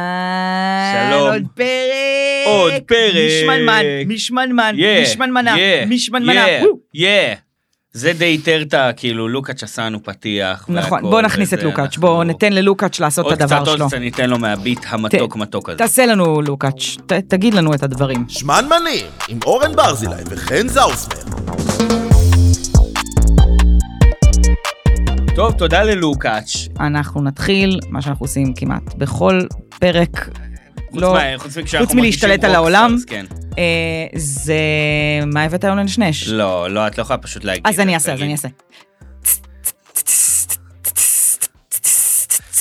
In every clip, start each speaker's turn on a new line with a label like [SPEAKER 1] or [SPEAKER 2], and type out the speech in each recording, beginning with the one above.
[SPEAKER 1] אהלן,
[SPEAKER 2] שלום.
[SPEAKER 1] עוד פרק,
[SPEAKER 2] עוד פרק.
[SPEAKER 1] משמנמן, משמנמן,
[SPEAKER 2] יא,
[SPEAKER 1] משמנמנה,
[SPEAKER 2] יא,
[SPEAKER 1] משמנמנה,
[SPEAKER 2] יא,
[SPEAKER 1] וואו.
[SPEAKER 2] יא. זה די טרטה, כאילו, לוקאץ' עשנו פתיח.
[SPEAKER 1] נכון,
[SPEAKER 2] והכל,
[SPEAKER 1] בוא נכניס את
[SPEAKER 2] וזה,
[SPEAKER 1] לוקאץ',
[SPEAKER 2] אנחנו-
[SPEAKER 1] בוא ניתן ללוקאץ' לעשות את
[SPEAKER 2] עוד
[SPEAKER 1] הדבר
[SPEAKER 2] קצת,
[SPEAKER 1] שלו.
[SPEAKER 2] עוד קצת, ניתן לו מהביט המתוק מתוק הזה.
[SPEAKER 1] תעשה לנו לוקאץ', ת- תגיד לנו את הדברים.
[SPEAKER 3] שמנמנים, עם אורן ברזילי וחן זאוסמן.
[SPEAKER 2] טוב, תודה ללוקאץ'.
[SPEAKER 1] אנחנו נתחיל, מה שאנחנו עושים כמעט בכל פרק,
[SPEAKER 2] חוץ
[SPEAKER 1] לא,
[SPEAKER 2] מה- חוץ מכשאנחנו
[SPEAKER 1] חוץ
[SPEAKER 2] מרגישים
[SPEAKER 1] מלהשתלט על
[SPEAKER 2] רוקסטארס,
[SPEAKER 1] העולם.
[SPEAKER 2] כן.
[SPEAKER 1] אה, זה מה הבאת היום לנשנש?
[SPEAKER 2] לא, לא, את לא יכולה פשוט להגיד.
[SPEAKER 1] אז אני אעשה, אז
[SPEAKER 2] תגיד.
[SPEAKER 1] אני אעשה.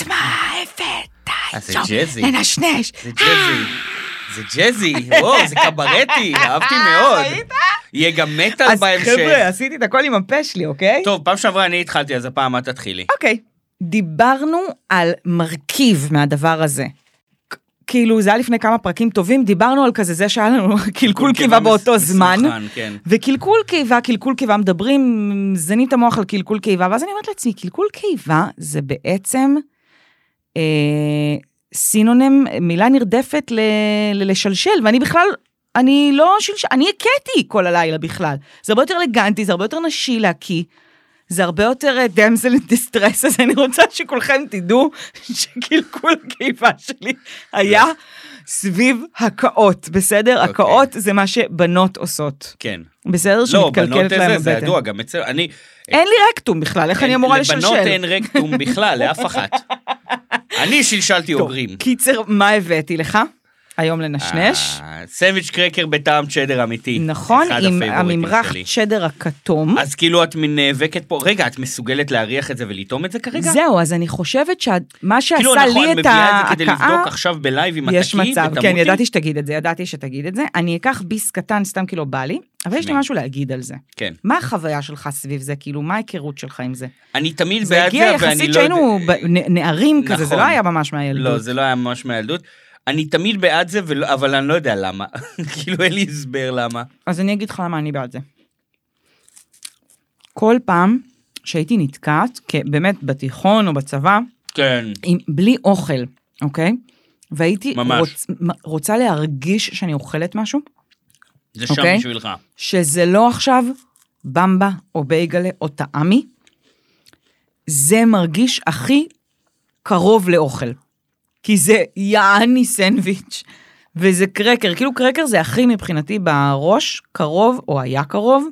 [SPEAKER 1] מה הבאת
[SPEAKER 2] אז זה
[SPEAKER 1] היום
[SPEAKER 2] ג'אזי.
[SPEAKER 1] לנשנש?
[SPEAKER 2] זה ג'אזי. זה ג'אזי, וואו, זה קברטי, אהבתי מאוד.
[SPEAKER 1] ראית?
[SPEAKER 2] יהיה גם מטאל
[SPEAKER 1] אז
[SPEAKER 2] בהמשך.
[SPEAKER 1] חבר'ה, עשיתי את הכל עם הפה שלי, אוקיי?
[SPEAKER 2] טוב, פעם שעברה אני התחלתי, אז הפעם את תתחילי.
[SPEAKER 1] אוקיי. דיברנו על מרכיב מהדבר הזה. כ- כאילו, זה היה לפני כמה פרקים טובים, דיברנו על כזה זה שהיה לנו קלקול קיבה באותו זמן.
[SPEAKER 2] מסונכרן, כן.
[SPEAKER 1] וקלקול קיבה, קלקול קיבה, מדברים, זנים את המוח על קלקול קיבה, ואז אני אומרת לעצמי, קלקול קיבה זה בעצם אה, סינונם, מילה נרדפת ל, ל, לשלשל, ואני בכלל, אני לא שלשל, אני הכיתי כל הלילה בכלל. זה הרבה יותר אלגנטי, זה הרבה יותר נשי להקיא. זה הרבה יותר אה, דמסל דיסטרס, אז אני רוצה שכולכם תדעו שקלקול הקיבה שלי היה סביב הקאות, בסדר?
[SPEAKER 2] אוקיי.
[SPEAKER 1] הקאות זה מה שבנות עושות.
[SPEAKER 2] כן.
[SPEAKER 1] בסדר
[SPEAKER 2] לא, בנות
[SPEAKER 1] שמתקלקלת להם
[SPEAKER 2] זה, זה
[SPEAKER 1] הבטן.
[SPEAKER 2] ידוע, גם אצל... אני...
[SPEAKER 1] אין לי רקטום בכלל, איך אני
[SPEAKER 2] אין-
[SPEAKER 1] אמורה
[SPEAKER 2] לבנות
[SPEAKER 1] לשלשל?
[SPEAKER 2] אין רקטום בכלל, לאף אחת. אני שלשלתי
[SPEAKER 1] טוב,
[SPEAKER 2] אוגרים.
[SPEAKER 1] קיצר, מה הבאתי לך? היום לנשנש.
[SPEAKER 2] אה, סנדוויץ' קרקר בטעם צ'דר אמיתי.
[SPEAKER 1] נכון,
[SPEAKER 2] אחד
[SPEAKER 1] עם
[SPEAKER 2] הפייבוריטים
[SPEAKER 1] הממרח
[SPEAKER 2] שלי.
[SPEAKER 1] צ'דר הכתום.
[SPEAKER 2] אז כאילו את מין נאבקת פה, רגע, את מסוגלת להריח את זה ולטעום את זה כרגע?
[SPEAKER 1] זהו, אז אני חושבת שמה
[SPEAKER 2] כאילו,
[SPEAKER 1] שעשה
[SPEAKER 2] נכון,
[SPEAKER 1] לי
[SPEAKER 2] את
[SPEAKER 1] את
[SPEAKER 2] מביאה את זה כדי
[SPEAKER 1] ההכאה,
[SPEAKER 2] לבדוק עכשיו בלייב אם את
[SPEAKER 1] יש
[SPEAKER 2] תקיא
[SPEAKER 1] מצב,
[SPEAKER 2] ותמותי?
[SPEAKER 1] כן, ידעתי שתגיד את זה, ידעתי שתגיד את זה. אני אקח ביס קטן, סתם כי לא בא לי, אבל יש לי
[SPEAKER 2] שני.
[SPEAKER 1] משהו להגיד על זה.
[SPEAKER 2] כן.
[SPEAKER 1] מה החוויה שלך סביב זה? כאילו, מה ההיכרות שלך עם זה?
[SPEAKER 2] אני תמיד
[SPEAKER 1] זה
[SPEAKER 2] בעד זה,
[SPEAKER 1] הגיע
[SPEAKER 2] ואני לא...
[SPEAKER 1] יחסית
[SPEAKER 2] יודע-
[SPEAKER 1] שהיינו ב- נ- נערים כזה, זה
[SPEAKER 2] נכון.
[SPEAKER 1] לא היה ממש מהילדות.
[SPEAKER 2] לא, זה לא היה ממש מהילדות. אני תמיד בעד זה, ולא- אבל אני לא יודע למה. כאילו, אין לי הסבר למה.
[SPEAKER 1] אז אני אגיד לך למה אני בעד זה. כל פעם שהייתי נתקעת, כ- באמת בתיכון או בצבא,
[SPEAKER 2] כן.
[SPEAKER 1] עם, בלי אוכל, אוקיי? והייתי
[SPEAKER 2] ממש.
[SPEAKER 1] רוצ, מ- רוצה להרגיש שאני אוכלת משהו,
[SPEAKER 2] זה שם
[SPEAKER 1] אוקיי.
[SPEAKER 2] בשבילך.
[SPEAKER 1] שזה לא עכשיו במבה או בייגלה או טעמי, זה מרגיש הכי קרוב לאוכל. כי זה יעני סנדוויץ', וזה קרקר, כאילו קרקר זה הכי מבחינתי בראש, קרוב, או היה קרוב,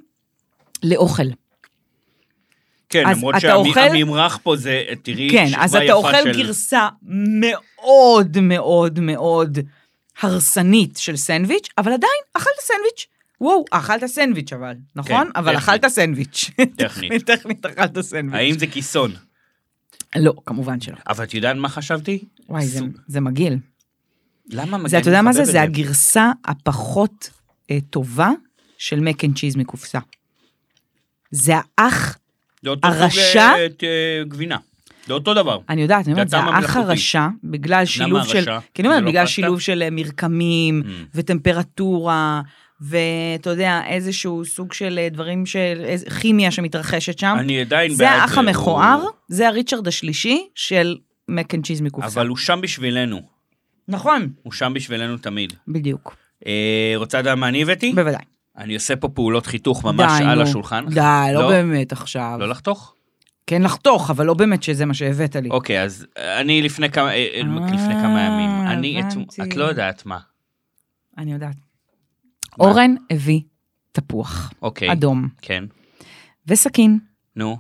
[SPEAKER 1] לאוכל.
[SPEAKER 2] כן,
[SPEAKER 1] אז
[SPEAKER 2] למרות
[SPEAKER 1] אתה אוכל-
[SPEAKER 2] שהממרח פה זה, תראי,
[SPEAKER 1] כן,
[SPEAKER 2] שכבה
[SPEAKER 1] אז אתה
[SPEAKER 2] יפה
[SPEAKER 1] אוכל
[SPEAKER 2] של-
[SPEAKER 1] גרסה מאוד מאוד מאוד הרסנית של סנדוויץ', אבל עדיין, אכלת סנדוויץ'. וואו, אכלת סנדוויץ' אבל, נכון? אבל
[SPEAKER 2] טכנית.
[SPEAKER 1] אכלת סנדוויץ'.
[SPEAKER 2] טכנית.
[SPEAKER 1] טכנית אכלת סנדוויץ'.
[SPEAKER 2] האם זה כיסון?
[SPEAKER 1] לא, כמובן שלא.
[SPEAKER 2] אבל את יודעת מה חשבתי?
[SPEAKER 1] וואי, זה-
[SPEAKER 2] סוג-
[SPEAKER 1] זה מגעיל.
[SPEAKER 2] למה מגן
[SPEAKER 1] זה, אתה יודע מה זה?
[SPEAKER 2] מחבב את
[SPEAKER 1] זה הגרסה הפחות אה, טובה של מק אנד צ'יז מקופסה. זה האח,
[SPEAKER 2] זה אותו סוג,
[SPEAKER 1] הרשע?
[SPEAKER 2] אה, את, אה, גבינה. זה אותו דבר.
[SPEAKER 1] אני יודעת, אני אומרת, זה
[SPEAKER 2] הטעם
[SPEAKER 1] האח
[SPEAKER 2] המלאכותי.
[SPEAKER 1] הרשע, בגלל שילוב של...
[SPEAKER 2] הרשע?
[SPEAKER 1] כי אני אומרת,
[SPEAKER 2] זה לא
[SPEAKER 1] בגלל
[SPEAKER 2] פסטה?
[SPEAKER 1] שילוב של אה, מרקמים,
[SPEAKER 2] Mm.
[SPEAKER 1] וטמפרטורה, ואתה יודע, איזשהו סוג של אה, דברים של איז- כימיה שמתרחשת שם.
[SPEAKER 2] אני עדיין בעד אה,
[SPEAKER 1] זה האח
[SPEAKER 2] הוא-
[SPEAKER 1] המכוער, זה הריצ'רד השלישי של מק אנד צ'יז מקופסה.
[SPEAKER 2] אבל הוא שם בשבילנו.
[SPEAKER 1] נכון,
[SPEAKER 2] הוא שם בשבילנו תמיד.
[SPEAKER 1] בדיוק,
[SPEAKER 2] אה, רוצה לדעת מה אני הבאתי?
[SPEAKER 1] בוודאי.
[SPEAKER 2] אני עושה פה פעולות חיתוך ממש
[SPEAKER 1] די,
[SPEAKER 2] על
[SPEAKER 1] נו.
[SPEAKER 2] השולחן.
[SPEAKER 1] די, לא
[SPEAKER 2] לא?
[SPEAKER 1] באמת עכשיו.
[SPEAKER 2] לא לחתוך?
[SPEAKER 1] כן לחתוך, אבל לא באמת שזה מה שהבאת לי.
[SPEAKER 2] אוקיי, אז אה, אני לפני כמה אה, אה,
[SPEAKER 1] אה,
[SPEAKER 2] לפני כמה ימים. אני את-
[SPEAKER 1] הבנתי.
[SPEAKER 2] את לא יודעת מה.
[SPEAKER 1] אני יודעת. אורן הביא תפוח
[SPEAKER 2] אוקיי.
[SPEAKER 1] אדום
[SPEAKER 2] כן.
[SPEAKER 1] וסכין,
[SPEAKER 2] נו.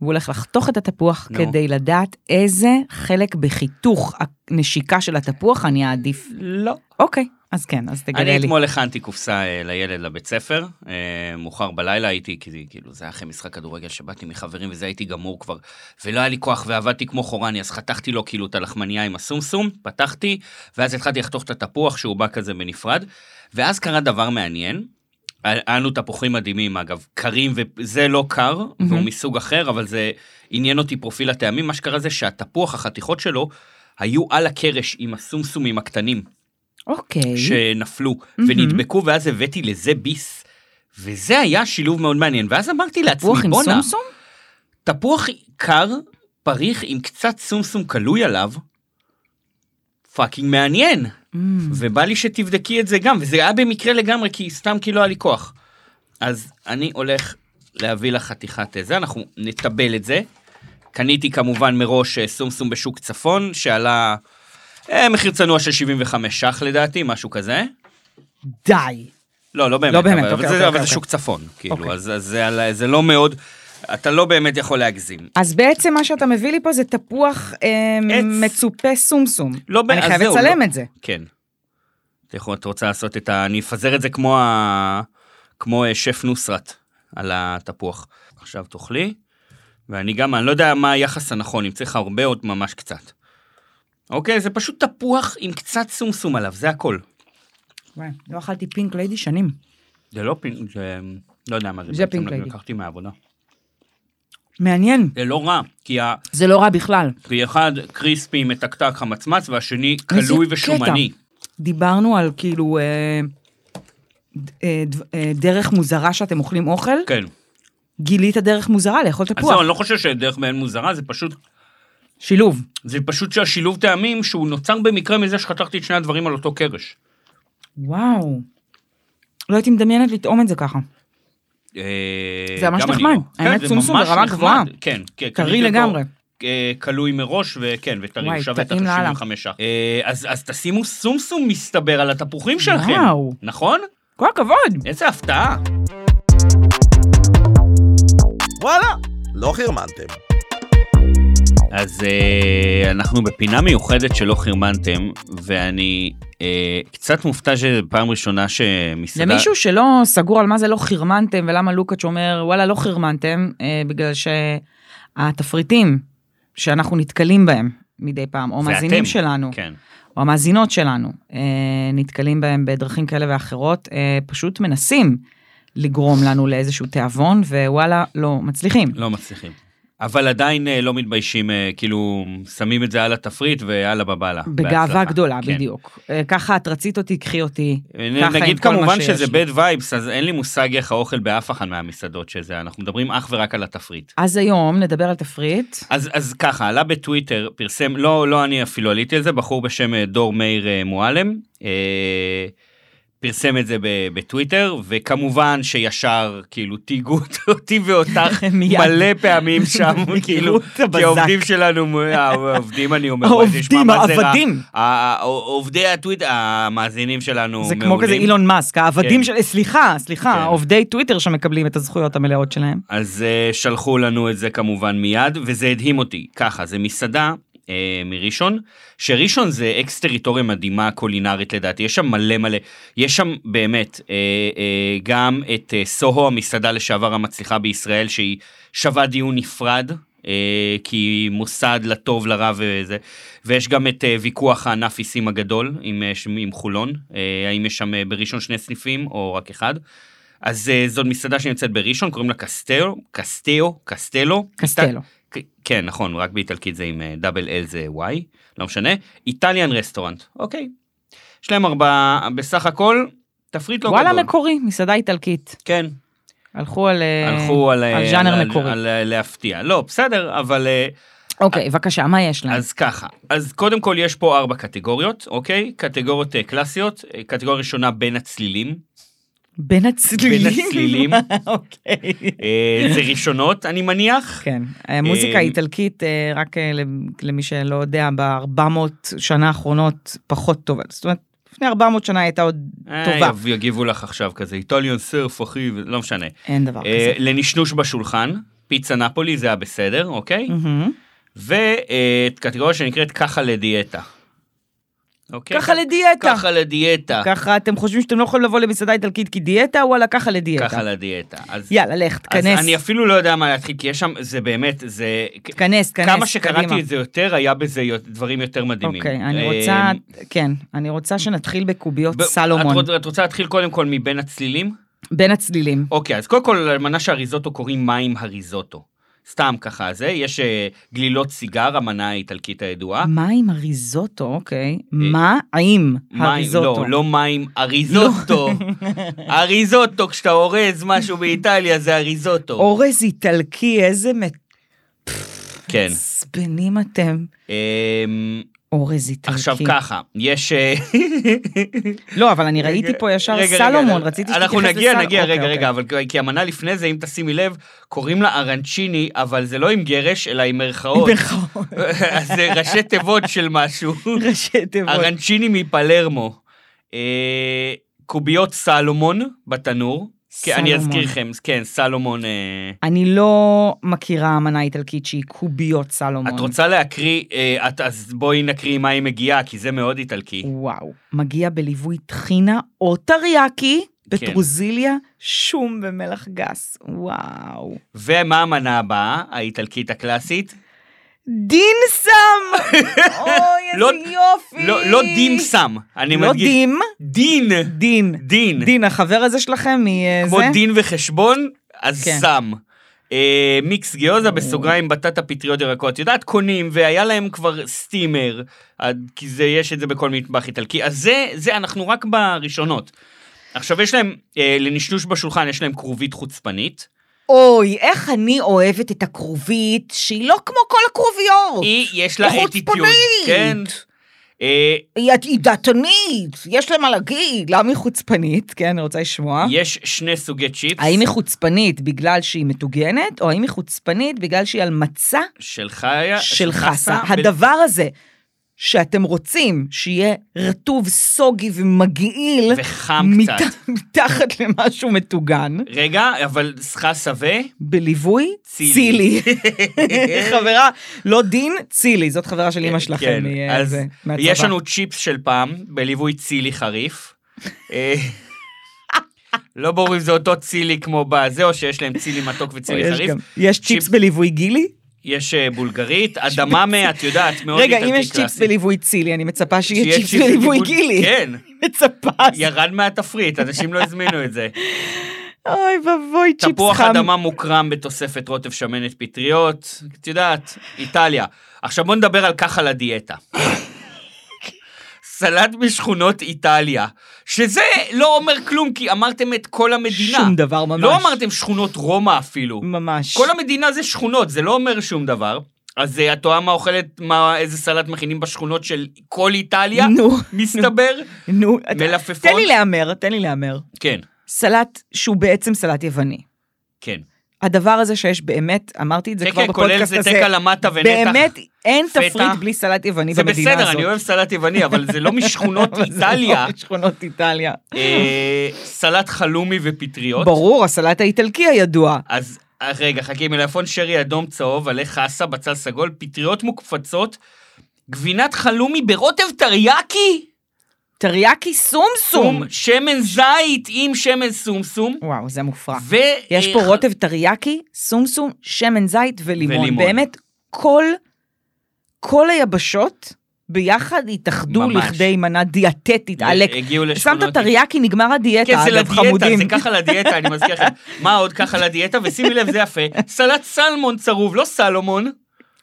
[SPEAKER 1] והוא הולך לחתוך את התפוח
[SPEAKER 2] נו.
[SPEAKER 1] כדי לדעת איזה חלק בחיתוך הנשיקה של התפוח אני אעדיף.
[SPEAKER 2] לא.
[SPEAKER 1] אוקיי, אז כן, אז
[SPEAKER 2] אני
[SPEAKER 1] תגלה לי.
[SPEAKER 2] אתמול הכנתי קופסה אה, לילד לבית ספר, אה, מאוחר בלילה הייתי, כי זה- כאילו זה היה אחרי משחק כדורגל שבאתי מחברים וזה הייתי גמור כבר, ולא היה לי כוח ועבדתי כמו חורני, אז חתכתי לו כאילו את הלחמנייה עם הסומסום, פתחתי, ואז התחלתי לחתוך את התפוח שהוא בא כזה בנפרד, ואז קרה דבר מעניין, היה לנו תפוחים מדהימים אגב, קרים וזה לא קר, והוא מסוג אחר, אבל זה עניין אותי פרופיל הטעמים, מה שקרה זה שהתפוח, החתיכות שלו, היו על הקרש עם הסומסומים הקטנים.
[SPEAKER 1] אוקיי.
[SPEAKER 2] שנפלו ונדבקו, ואז הבאתי לזה ביס. וזה היה שילוב מאוד מעניין, ואז אמרתי לעצמי,
[SPEAKER 1] תפוח עם
[SPEAKER 2] בואנה,
[SPEAKER 1] סומסום?
[SPEAKER 2] תפוח קר, פריך עם קצת סומסום כלוי עליו, פאקינג מעניין.
[SPEAKER 1] Mm.
[SPEAKER 2] ובא לי שתבדקי את זה גם, וזה היה במקרה לגמרי, כי סתם כי לא היה לי כוח. אז אני הולך להביא לך חתיכת זה, אנחנו נטבל את זה. קניתי כמובן מראש אה, סומסום בשוק צפון, שעלה אה, מחיר צנוע של 75 ש"ח לדעתי, משהו כזה.
[SPEAKER 1] די.
[SPEAKER 2] לא, לא באמת,
[SPEAKER 1] לא באמת,
[SPEAKER 2] אבל,
[SPEAKER 1] אוקיי,
[SPEAKER 2] אבל, זה,
[SPEAKER 1] אוקיי,
[SPEAKER 2] אבל
[SPEAKER 1] אוקיי.
[SPEAKER 2] זה שוק צפון, כאילו,
[SPEAKER 1] אוקיי.
[SPEAKER 2] אז, אז זה, על- זה לא מאוד, אתה לא באמת יכול להגזים.
[SPEAKER 1] אז בעצם מה שאתה מביא לי פה זה תפוח אה,
[SPEAKER 2] עץ.
[SPEAKER 1] מצופה סומסום.
[SPEAKER 2] לא,
[SPEAKER 1] אני
[SPEAKER 2] אז
[SPEAKER 1] חייבת
[SPEAKER 2] זהו,
[SPEAKER 1] לצלם
[SPEAKER 2] לא.
[SPEAKER 1] את זה.
[SPEAKER 2] כן. אתה יכול, את רוצה לעשות את ה... אני אפזר את זה כמו, ה... כמו אה, שף נוסרת על התפוח. עכשיו תאכלי, ואני גם, אני לא יודע מה היחס הנכון, אם צריך הרבה עוד ממש קצת. אוקיי, זה פשוט תפוח עם קצת סומסום עליו, זה הכל.
[SPEAKER 1] וואי, לא אכלתי פינק ליידי שנים.
[SPEAKER 2] זה לא פינק, זה... לא יודע מה זה.
[SPEAKER 1] זה
[SPEAKER 2] בעצם,
[SPEAKER 1] פינק ליידי.
[SPEAKER 2] לקחתי מהעבודה.
[SPEAKER 1] מעניין.
[SPEAKER 2] זה לא רע, כי ה...
[SPEAKER 1] זה לא רע בכלל.
[SPEAKER 2] כי אחד קריספי מתקתק חמצמץ והשני קלוי
[SPEAKER 1] איזה
[SPEAKER 2] ושומני.
[SPEAKER 1] קטע. דיברנו על כאילו אה, ד- אה, דו- אה, דרך מוזרה שאתם אוכלים אוכל,
[SPEAKER 2] כן.
[SPEAKER 1] גילית דרך מוזרה לאכול
[SPEAKER 2] אז זהו,
[SPEAKER 1] תפוח.
[SPEAKER 2] אני לא חושב שדרך מעין מוזרה, זה פשוט,
[SPEAKER 1] שילוב.
[SPEAKER 2] זה פשוט שהשילוב טעמים שהוא נוצר במקרה מזה שחתכתי את שני הדברים על אותו קרש.
[SPEAKER 1] וואו. לא הייתי מדמיינת לטעום את זה ככה.
[SPEAKER 2] אה,
[SPEAKER 1] זה ממש
[SPEAKER 2] גם אני
[SPEAKER 1] נחמד.
[SPEAKER 2] לא. כן,
[SPEAKER 1] האמת,
[SPEAKER 2] זה
[SPEAKER 1] סומסום
[SPEAKER 2] ממש
[SPEAKER 1] ברמה
[SPEAKER 2] נחמד.
[SPEAKER 1] גבוהה.
[SPEAKER 2] כן, כן.
[SPEAKER 1] טרי
[SPEAKER 2] קניתי אותו,
[SPEAKER 1] לגמרי.
[SPEAKER 2] אה, כלוי מראש, וכן, וטרי,
[SPEAKER 1] וואי,
[SPEAKER 2] הוא שווה את
[SPEAKER 1] טעים לאללה.
[SPEAKER 2] ה-95 ש"ח. אה, אז אז תשימו סומסום מסתבר על התפוחים שלכם.
[SPEAKER 1] וואו.
[SPEAKER 2] נכון?
[SPEAKER 1] כל הכבוד.
[SPEAKER 2] איזה הפתעה.
[SPEAKER 3] וואלה, לא חרמנתם.
[SPEAKER 2] אז אה, אנחנו בפינה מיוחדת שלא חרמנתם, ואני אה, קצת מופתע שזו פעם ראשונה שמסעדה...
[SPEAKER 1] למישהו שלא סגור על מה זה לא חרמנתם ולמה לוקאץ' אומר וואלה לא חרמנתם, אה, בגלל שהתפריטים שאנחנו נתקלים בהם מדי פעם, או
[SPEAKER 2] זה
[SPEAKER 1] מאזינים
[SPEAKER 2] אתם.
[SPEAKER 1] שלנו,
[SPEAKER 2] כן.
[SPEAKER 1] או המאזינות שלנו אה, נתקלים בהם בדרכים כאלה ואחרות, אה, פשוט מנסים לגרום לנו לאיזשהו תיאבון, ווואלה, לא מצליחים.
[SPEAKER 2] לא מצליחים. אבל עדיין אה, לא מתביישים, אה, כאילו, שמים את זה על התפריט ויאללה בבאללה.
[SPEAKER 1] בגאווה
[SPEAKER 2] בהצלחה.
[SPEAKER 1] גדולה,
[SPEAKER 2] כן.
[SPEAKER 1] בדיוק. אה, ככה את רצית אותי, קחי אותי.
[SPEAKER 2] נ-
[SPEAKER 1] ככה עם
[SPEAKER 2] נגיד
[SPEAKER 1] כל מה
[SPEAKER 2] כמובן
[SPEAKER 1] שיש
[SPEAKER 2] שזה
[SPEAKER 1] לי.
[SPEAKER 2] bad vibes, אז אין לי מושג איך האוכל באף אחת מהמסעדות שזה, אנחנו מדברים אך ורק על התפריט.
[SPEAKER 1] אז היום נדבר על תפריט.
[SPEAKER 2] אז, אז ככה, עלה בטוויטר, פרסם, לא, לא אני אפילו עליתי על זה, בחור בשם אה, דור מאיר אה, מועלם, אה, פרסם את זה ב- בטוויטר, וכמובן שישר, כאילו, תיגעו אותי ואותך
[SPEAKER 1] מיד.
[SPEAKER 2] מלא פעמים שם, כאילו,
[SPEAKER 1] את הבזק.
[SPEAKER 2] כי העובדים שלנו, אה, העובדים, אני אומר, וואי, זה נשמע
[SPEAKER 1] העובדים,
[SPEAKER 2] מה זה רע.
[SPEAKER 1] העבדים.
[SPEAKER 2] ה- ה- עובדי הטוויטר, המאזינים שלנו
[SPEAKER 1] זה כמו
[SPEAKER 2] מעולים.
[SPEAKER 1] כזה אילון מאסק, העבדים
[SPEAKER 2] כן.
[SPEAKER 1] של... אה, סליחה,
[SPEAKER 2] כן.
[SPEAKER 1] סליחה, עובדי טוויטר שמקבלים את הזכויות המלאות שלהם.
[SPEAKER 2] אז uh, שלחו לנו את זה כמובן מיד, וזה הדהים אותי. ככה, זה מסעדה uh, מראשון, שראשון זה אקס טריטוריה מדהימה קולינרית לדעתי, יש שם מלא מלא, יש שם באמת uh, uh, גם את uh, סוהו, המסעדה לשעבר המצליחה בישראל, שהיא שווה דיון נפרד. אה, כי היא מוסד לטוב לרע וזה, ויש גם את אה, ויכוח הענף עיסים הגדול עם, אה, ש- עם חולון, אה, האם יש שם אה, בראשון שני סניפים או רק אחד. אז אה, זאת מסעדה שנמצאת בראשון, קוראים לה קסטלו, קסטלו, קסטלו.
[SPEAKER 1] קסטלו.
[SPEAKER 2] ק- כן, נכון, רק באיטלקית זה עם אה, דאבל אל זה וואי, לא משנה. איטליאן רסטורנט, אוקיי. יש להם ארבעה, בסך הכל, תפריט לא
[SPEAKER 1] וואלה
[SPEAKER 2] גדול.
[SPEAKER 1] מקורי, מסעדה איטלקית.
[SPEAKER 2] כן,
[SPEAKER 1] הלכו על... אה,
[SPEAKER 2] הלכו על... אה,
[SPEAKER 1] על ז'אנר
[SPEAKER 2] על-
[SPEAKER 1] מקורי.
[SPEAKER 2] על אה, להפתיע. לא, בסדר, אבל... אה,
[SPEAKER 1] אוקיי, בבקשה, מה יש להם?
[SPEAKER 2] אז ככה, אז קודם כל יש פה ארבע קטגוריות, אוקיי? קטגוריות אה, קלאסיות, אה, קטגוריה ראשונה בין הצלילים,
[SPEAKER 1] בין הצלילים.
[SPEAKER 2] בין הצלילים.
[SPEAKER 1] אוקיי.
[SPEAKER 2] אה, זה ראשונות, אני מניח.
[SPEAKER 1] כן, המוזיקה
[SPEAKER 2] אה,
[SPEAKER 1] האיטלקית, אה, רק אה, למ- למי שלא יודע, ב-400 שנה האחרונות פחות טובה. זאת אומרת, לפני 400 שנה הייתה עוד
[SPEAKER 2] אה,
[SPEAKER 1] טובה.
[SPEAKER 2] יב- יגיבו לך עכשיו כזה, איטליון סרף אחי, ו- לא משנה.
[SPEAKER 1] אין דבר
[SPEAKER 2] אה,
[SPEAKER 1] כזה.
[SPEAKER 2] לנשנוש בשולחן, פיצה נפולי זה היה בסדר, אוקיי?
[SPEAKER 1] מהמם.
[SPEAKER 2] וקטגוריה שנקראת ככה לדיאטה. אוקיי?
[SPEAKER 1] ככה לדיאטה.
[SPEAKER 2] ככה לדיאטה.
[SPEAKER 1] ככה אתם חושבים שאתם לא יכולים לבוא למסעדה איטלקית כי דיאטה, וואלה, ככה לדיאטה.
[SPEAKER 2] ככה לדיאטה. אז-
[SPEAKER 1] יאללה, לך,
[SPEAKER 2] אז
[SPEAKER 1] תכנס,
[SPEAKER 2] אני אפילו לא יודע מה להתחיל, כי יש שם, זה באמת, זה...
[SPEAKER 1] תכנס, תכנס,
[SPEAKER 2] כמה שקראתי
[SPEAKER 1] קדימה.
[SPEAKER 2] את זה יותר, היה בזה יו- דברים יותר מדהימים.
[SPEAKER 1] אוקיי, אני
[SPEAKER 2] אה,
[SPEAKER 1] רוצה, כן, אני רוצה שנתחיל בקוביות
[SPEAKER 2] ב-
[SPEAKER 1] סלומון,
[SPEAKER 2] את רוצ- את רוצה להתחיל קודם כל מבין הצלילים?
[SPEAKER 1] בין הצלילים.
[SPEAKER 2] אוקיי, אז קודם כל, למנה שהריזוטו קוראים מים הריזוטו. סתם ככה זה, יש אה, גלילות סיגר, המנה האיטלקית הידועה.
[SPEAKER 1] מים הריזוטו, אוקיי. מה עם הריזוטו? לא.
[SPEAKER 2] מים, אה, לא, לא מים, אריזוטו. אריזוטו, כשאתה אורז משהו באיטליה זה אריזוטו.
[SPEAKER 1] אורז איטלקי, איזה
[SPEAKER 2] כן.
[SPEAKER 1] מעצבנים אתם.
[SPEAKER 2] אמ,
[SPEAKER 1] אורז איטלקי.
[SPEAKER 2] עכשיו ככה, יש... אה,
[SPEAKER 1] לא, אבל אני ראיתי פה ישר
[SPEAKER 2] רגע, רגע,
[SPEAKER 1] סלומון,
[SPEAKER 2] רגע.
[SPEAKER 1] רציתי שתתייחס
[SPEAKER 2] אנחנו
[SPEAKER 1] לסלומון.
[SPEAKER 2] נגיע, נגיע,
[SPEAKER 1] אוקיי,
[SPEAKER 2] רגע,
[SPEAKER 1] אוקיי.
[SPEAKER 2] רגע, אבל כי המנה לפני זה, אם תשימי לב, קוראים לה ארנצ'יני, אבל זה לא עם גרש, אלא עם מירכאות.
[SPEAKER 1] ברכות.
[SPEAKER 2] אז זה ראשי תיבות של משהו.
[SPEAKER 1] ראשי תיבות.
[SPEAKER 2] ארנצ'יני מפלרמו. אה, קוביות סלומון בתנור. כן, אני
[SPEAKER 1] סלומון.
[SPEAKER 2] אזכירכם, כן, סלומון. אה,
[SPEAKER 1] אני לא מכירה אמנה איטלקית שהיא קוביות סלומון.
[SPEAKER 2] את רוצה להקריא, אה, את- אז בואי נקריא מה היא מגיעה, כי זה מאוד איטלקי.
[SPEAKER 1] וואו. מגיע בליווי טחינה או טריאקי, בטרוזיליה,
[SPEAKER 2] כן.
[SPEAKER 1] שום ומלח גס. וואו.
[SPEAKER 2] ומה המנה הבאה, האיטלקית הקלאסית?
[SPEAKER 1] דין סם! אוי,
[SPEAKER 2] לא-
[SPEAKER 1] איזה יופי!
[SPEAKER 2] לא לא דים סם, אני
[SPEAKER 1] לא
[SPEAKER 2] מדגיש.
[SPEAKER 1] דים,
[SPEAKER 2] דין.
[SPEAKER 1] דין.
[SPEAKER 2] דין.
[SPEAKER 1] דין, החבר הזה שלכם אה, מזה?
[SPEAKER 2] כמו דין וחשבון, אז
[SPEAKER 1] כן.
[SPEAKER 2] סם. אה, מיקס גיוזה בסוגריים בטטה פטריות ירקות, יודעת קונים והיה להם כבר סטימר, עד- כי זה יש את זה בכל מטבח איטלקי, אז זה, זה אנחנו רק בראשונות. עכשיו יש להם, אה, לנשנוש בשולחן יש להם כרובית חוצפנית,
[SPEAKER 1] אוי, איך אני אוהבת את הכרובית, שהיא לא כמו כל הכרוביות.
[SPEAKER 2] היא יש לה
[SPEAKER 1] חוצפנית.
[SPEAKER 2] אטיטיוד, כן, אה,
[SPEAKER 1] היא, היא דתנית, יש לה מה להגיד. למה היא חוצפנית? לא כן, אני רוצה לשמוע.
[SPEAKER 2] יש שני סוגי צ'יפס
[SPEAKER 1] האם היא חוצפנית בגלל שהיא מטוגנת, או האם היא חוצפנית בגלל שהיא על מצע
[SPEAKER 2] אה, של חיה,
[SPEAKER 1] של חסה?
[SPEAKER 2] ב-
[SPEAKER 1] הדבר הזה שאתם רוצים שיהיה רטוב, סוגי ומגעיל,
[SPEAKER 2] וחם
[SPEAKER 1] מת-
[SPEAKER 2] קצת.
[SPEAKER 1] מתחת למשהו מטוגן,
[SPEAKER 2] רגע, אבל חסה ו...
[SPEAKER 1] בליווי
[SPEAKER 2] צילי.
[SPEAKER 1] צילי. חברה, לא דין, צילי, זאת חברה של אמא שלכם.
[SPEAKER 2] כן,
[SPEAKER 1] היא, אה,
[SPEAKER 2] אז
[SPEAKER 1] זה, מהצבא.
[SPEAKER 2] יש לנו צ'יפס של פעם, בליווי צילי חריף. אה, לא ברור אם זה אותו צילי כמו בזה, או שיש להם צילי מתוק
[SPEAKER 1] או,
[SPEAKER 2] וצילי
[SPEAKER 1] יש
[SPEAKER 2] חריף.
[SPEAKER 1] גם- יש צ'יפס
[SPEAKER 2] צ'יפס-
[SPEAKER 1] בליווי גילי?
[SPEAKER 2] יש אה, בולגרית, אדממה, את יודעת, מאוד
[SPEAKER 1] רגע,
[SPEAKER 2] איטלקי
[SPEAKER 1] אם יש צ'יפס בליווי צילי, אני מצפה שיהיה
[SPEAKER 2] שיש
[SPEAKER 1] צ'יפס בליווי
[SPEAKER 2] בבול-
[SPEAKER 1] גילי.
[SPEAKER 2] כן,
[SPEAKER 1] מצפה.
[SPEAKER 2] ירד מהתפריט, אנשים לא הזמינו את זה.
[SPEAKER 1] אוי ואבוי, צ'יפס
[SPEAKER 2] תפוח
[SPEAKER 1] חם.
[SPEAKER 2] אדמה מוקרם בתוספת רוטב שמנת פטריות, את יודעת, איטליה. עכשיו בוא נדבר על ככה לדיאטה. סלט משכונות איטליה, שזה לא אומר כלום, כי אמרתם את כל המדינה.
[SPEAKER 1] שום דבר ממש.
[SPEAKER 2] לא אמרתם שכונות רומא אפילו.
[SPEAKER 1] ממש.
[SPEAKER 2] כל המדינה זה שכונות, זה לא אומר שום דבר. אז אה, את טועה מה אוכלת, מה, איזה סלט מכינים בשכונות של כל איטליה,
[SPEAKER 1] נו,
[SPEAKER 2] מסתבר.
[SPEAKER 1] נו. אתה-
[SPEAKER 2] מלפפון.
[SPEAKER 1] תן לי להמר, תן לי להמר.
[SPEAKER 2] כן,
[SPEAKER 1] סלט שהוא בעצם סלט יווני.
[SPEAKER 2] כן.
[SPEAKER 1] הדבר הזה שיש באמת, אמרתי את זה כבר
[SPEAKER 2] תקן כולל
[SPEAKER 1] בפודקאסט
[SPEAKER 2] זה
[SPEAKER 1] הזה,
[SPEAKER 2] תקע למטה ונתח.
[SPEAKER 1] באמת אין
[SPEAKER 2] פתח.
[SPEAKER 1] תפריט בלי סלט יווני
[SPEAKER 2] זה
[SPEAKER 1] במדינה הזאת.
[SPEAKER 2] בסדר, אני אוהב סלט יווני, אבל זה לא משכונות
[SPEAKER 1] אבל זה לא
[SPEAKER 2] איטליה.
[SPEAKER 1] משכונות איטליה.
[SPEAKER 2] אה, סלט חלומי ופטריות.
[SPEAKER 1] ברור, הסלט האיטלקי הידוע.
[SPEAKER 2] אז אה, רגע, חכי, מלפון שרי אדום צהוב, עלי חסה, בצל סגול, פטריות מוקפצות, גבינת חלומי ברוטב טריאקי,
[SPEAKER 1] טריאקי סום סום.
[SPEAKER 2] סום, שמן זית עם שמן סומסום,
[SPEAKER 1] וואו, זה מופרע.
[SPEAKER 2] ו...
[SPEAKER 1] יש
[SPEAKER 2] אה,
[SPEAKER 1] פה
[SPEAKER 2] ח-
[SPEAKER 1] רוטב טריאקי, סומסום, שמן זית ולימון.
[SPEAKER 2] ולימון.
[SPEAKER 1] באמת, כל, כל היבשות ביחד התאחדו
[SPEAKER 2] ממש.
[SPEAKER 1] לכדי מנה דיאטטית,
[SPEAKER 2] ו-
[SPEAKER 1] עלק.
[SPEAKER 2] הגיעו לשכונות...
[SPEAKER 1] שמת טריאקי, נגמר הדיאטה,
[SPEAKER 2] כן,
[SPEAKER 1] אגב,
[SPEAKER 2] זה לדיאטה,
[SPEAKER 1] חמודים.
[SPEAKER 2] זה ככה לדיאטה, אני מזכיר לכם. מה עוד ככה לדיאטה? ושימי לב, זה יפה. סלט סלמון צרוב, לא סלומון.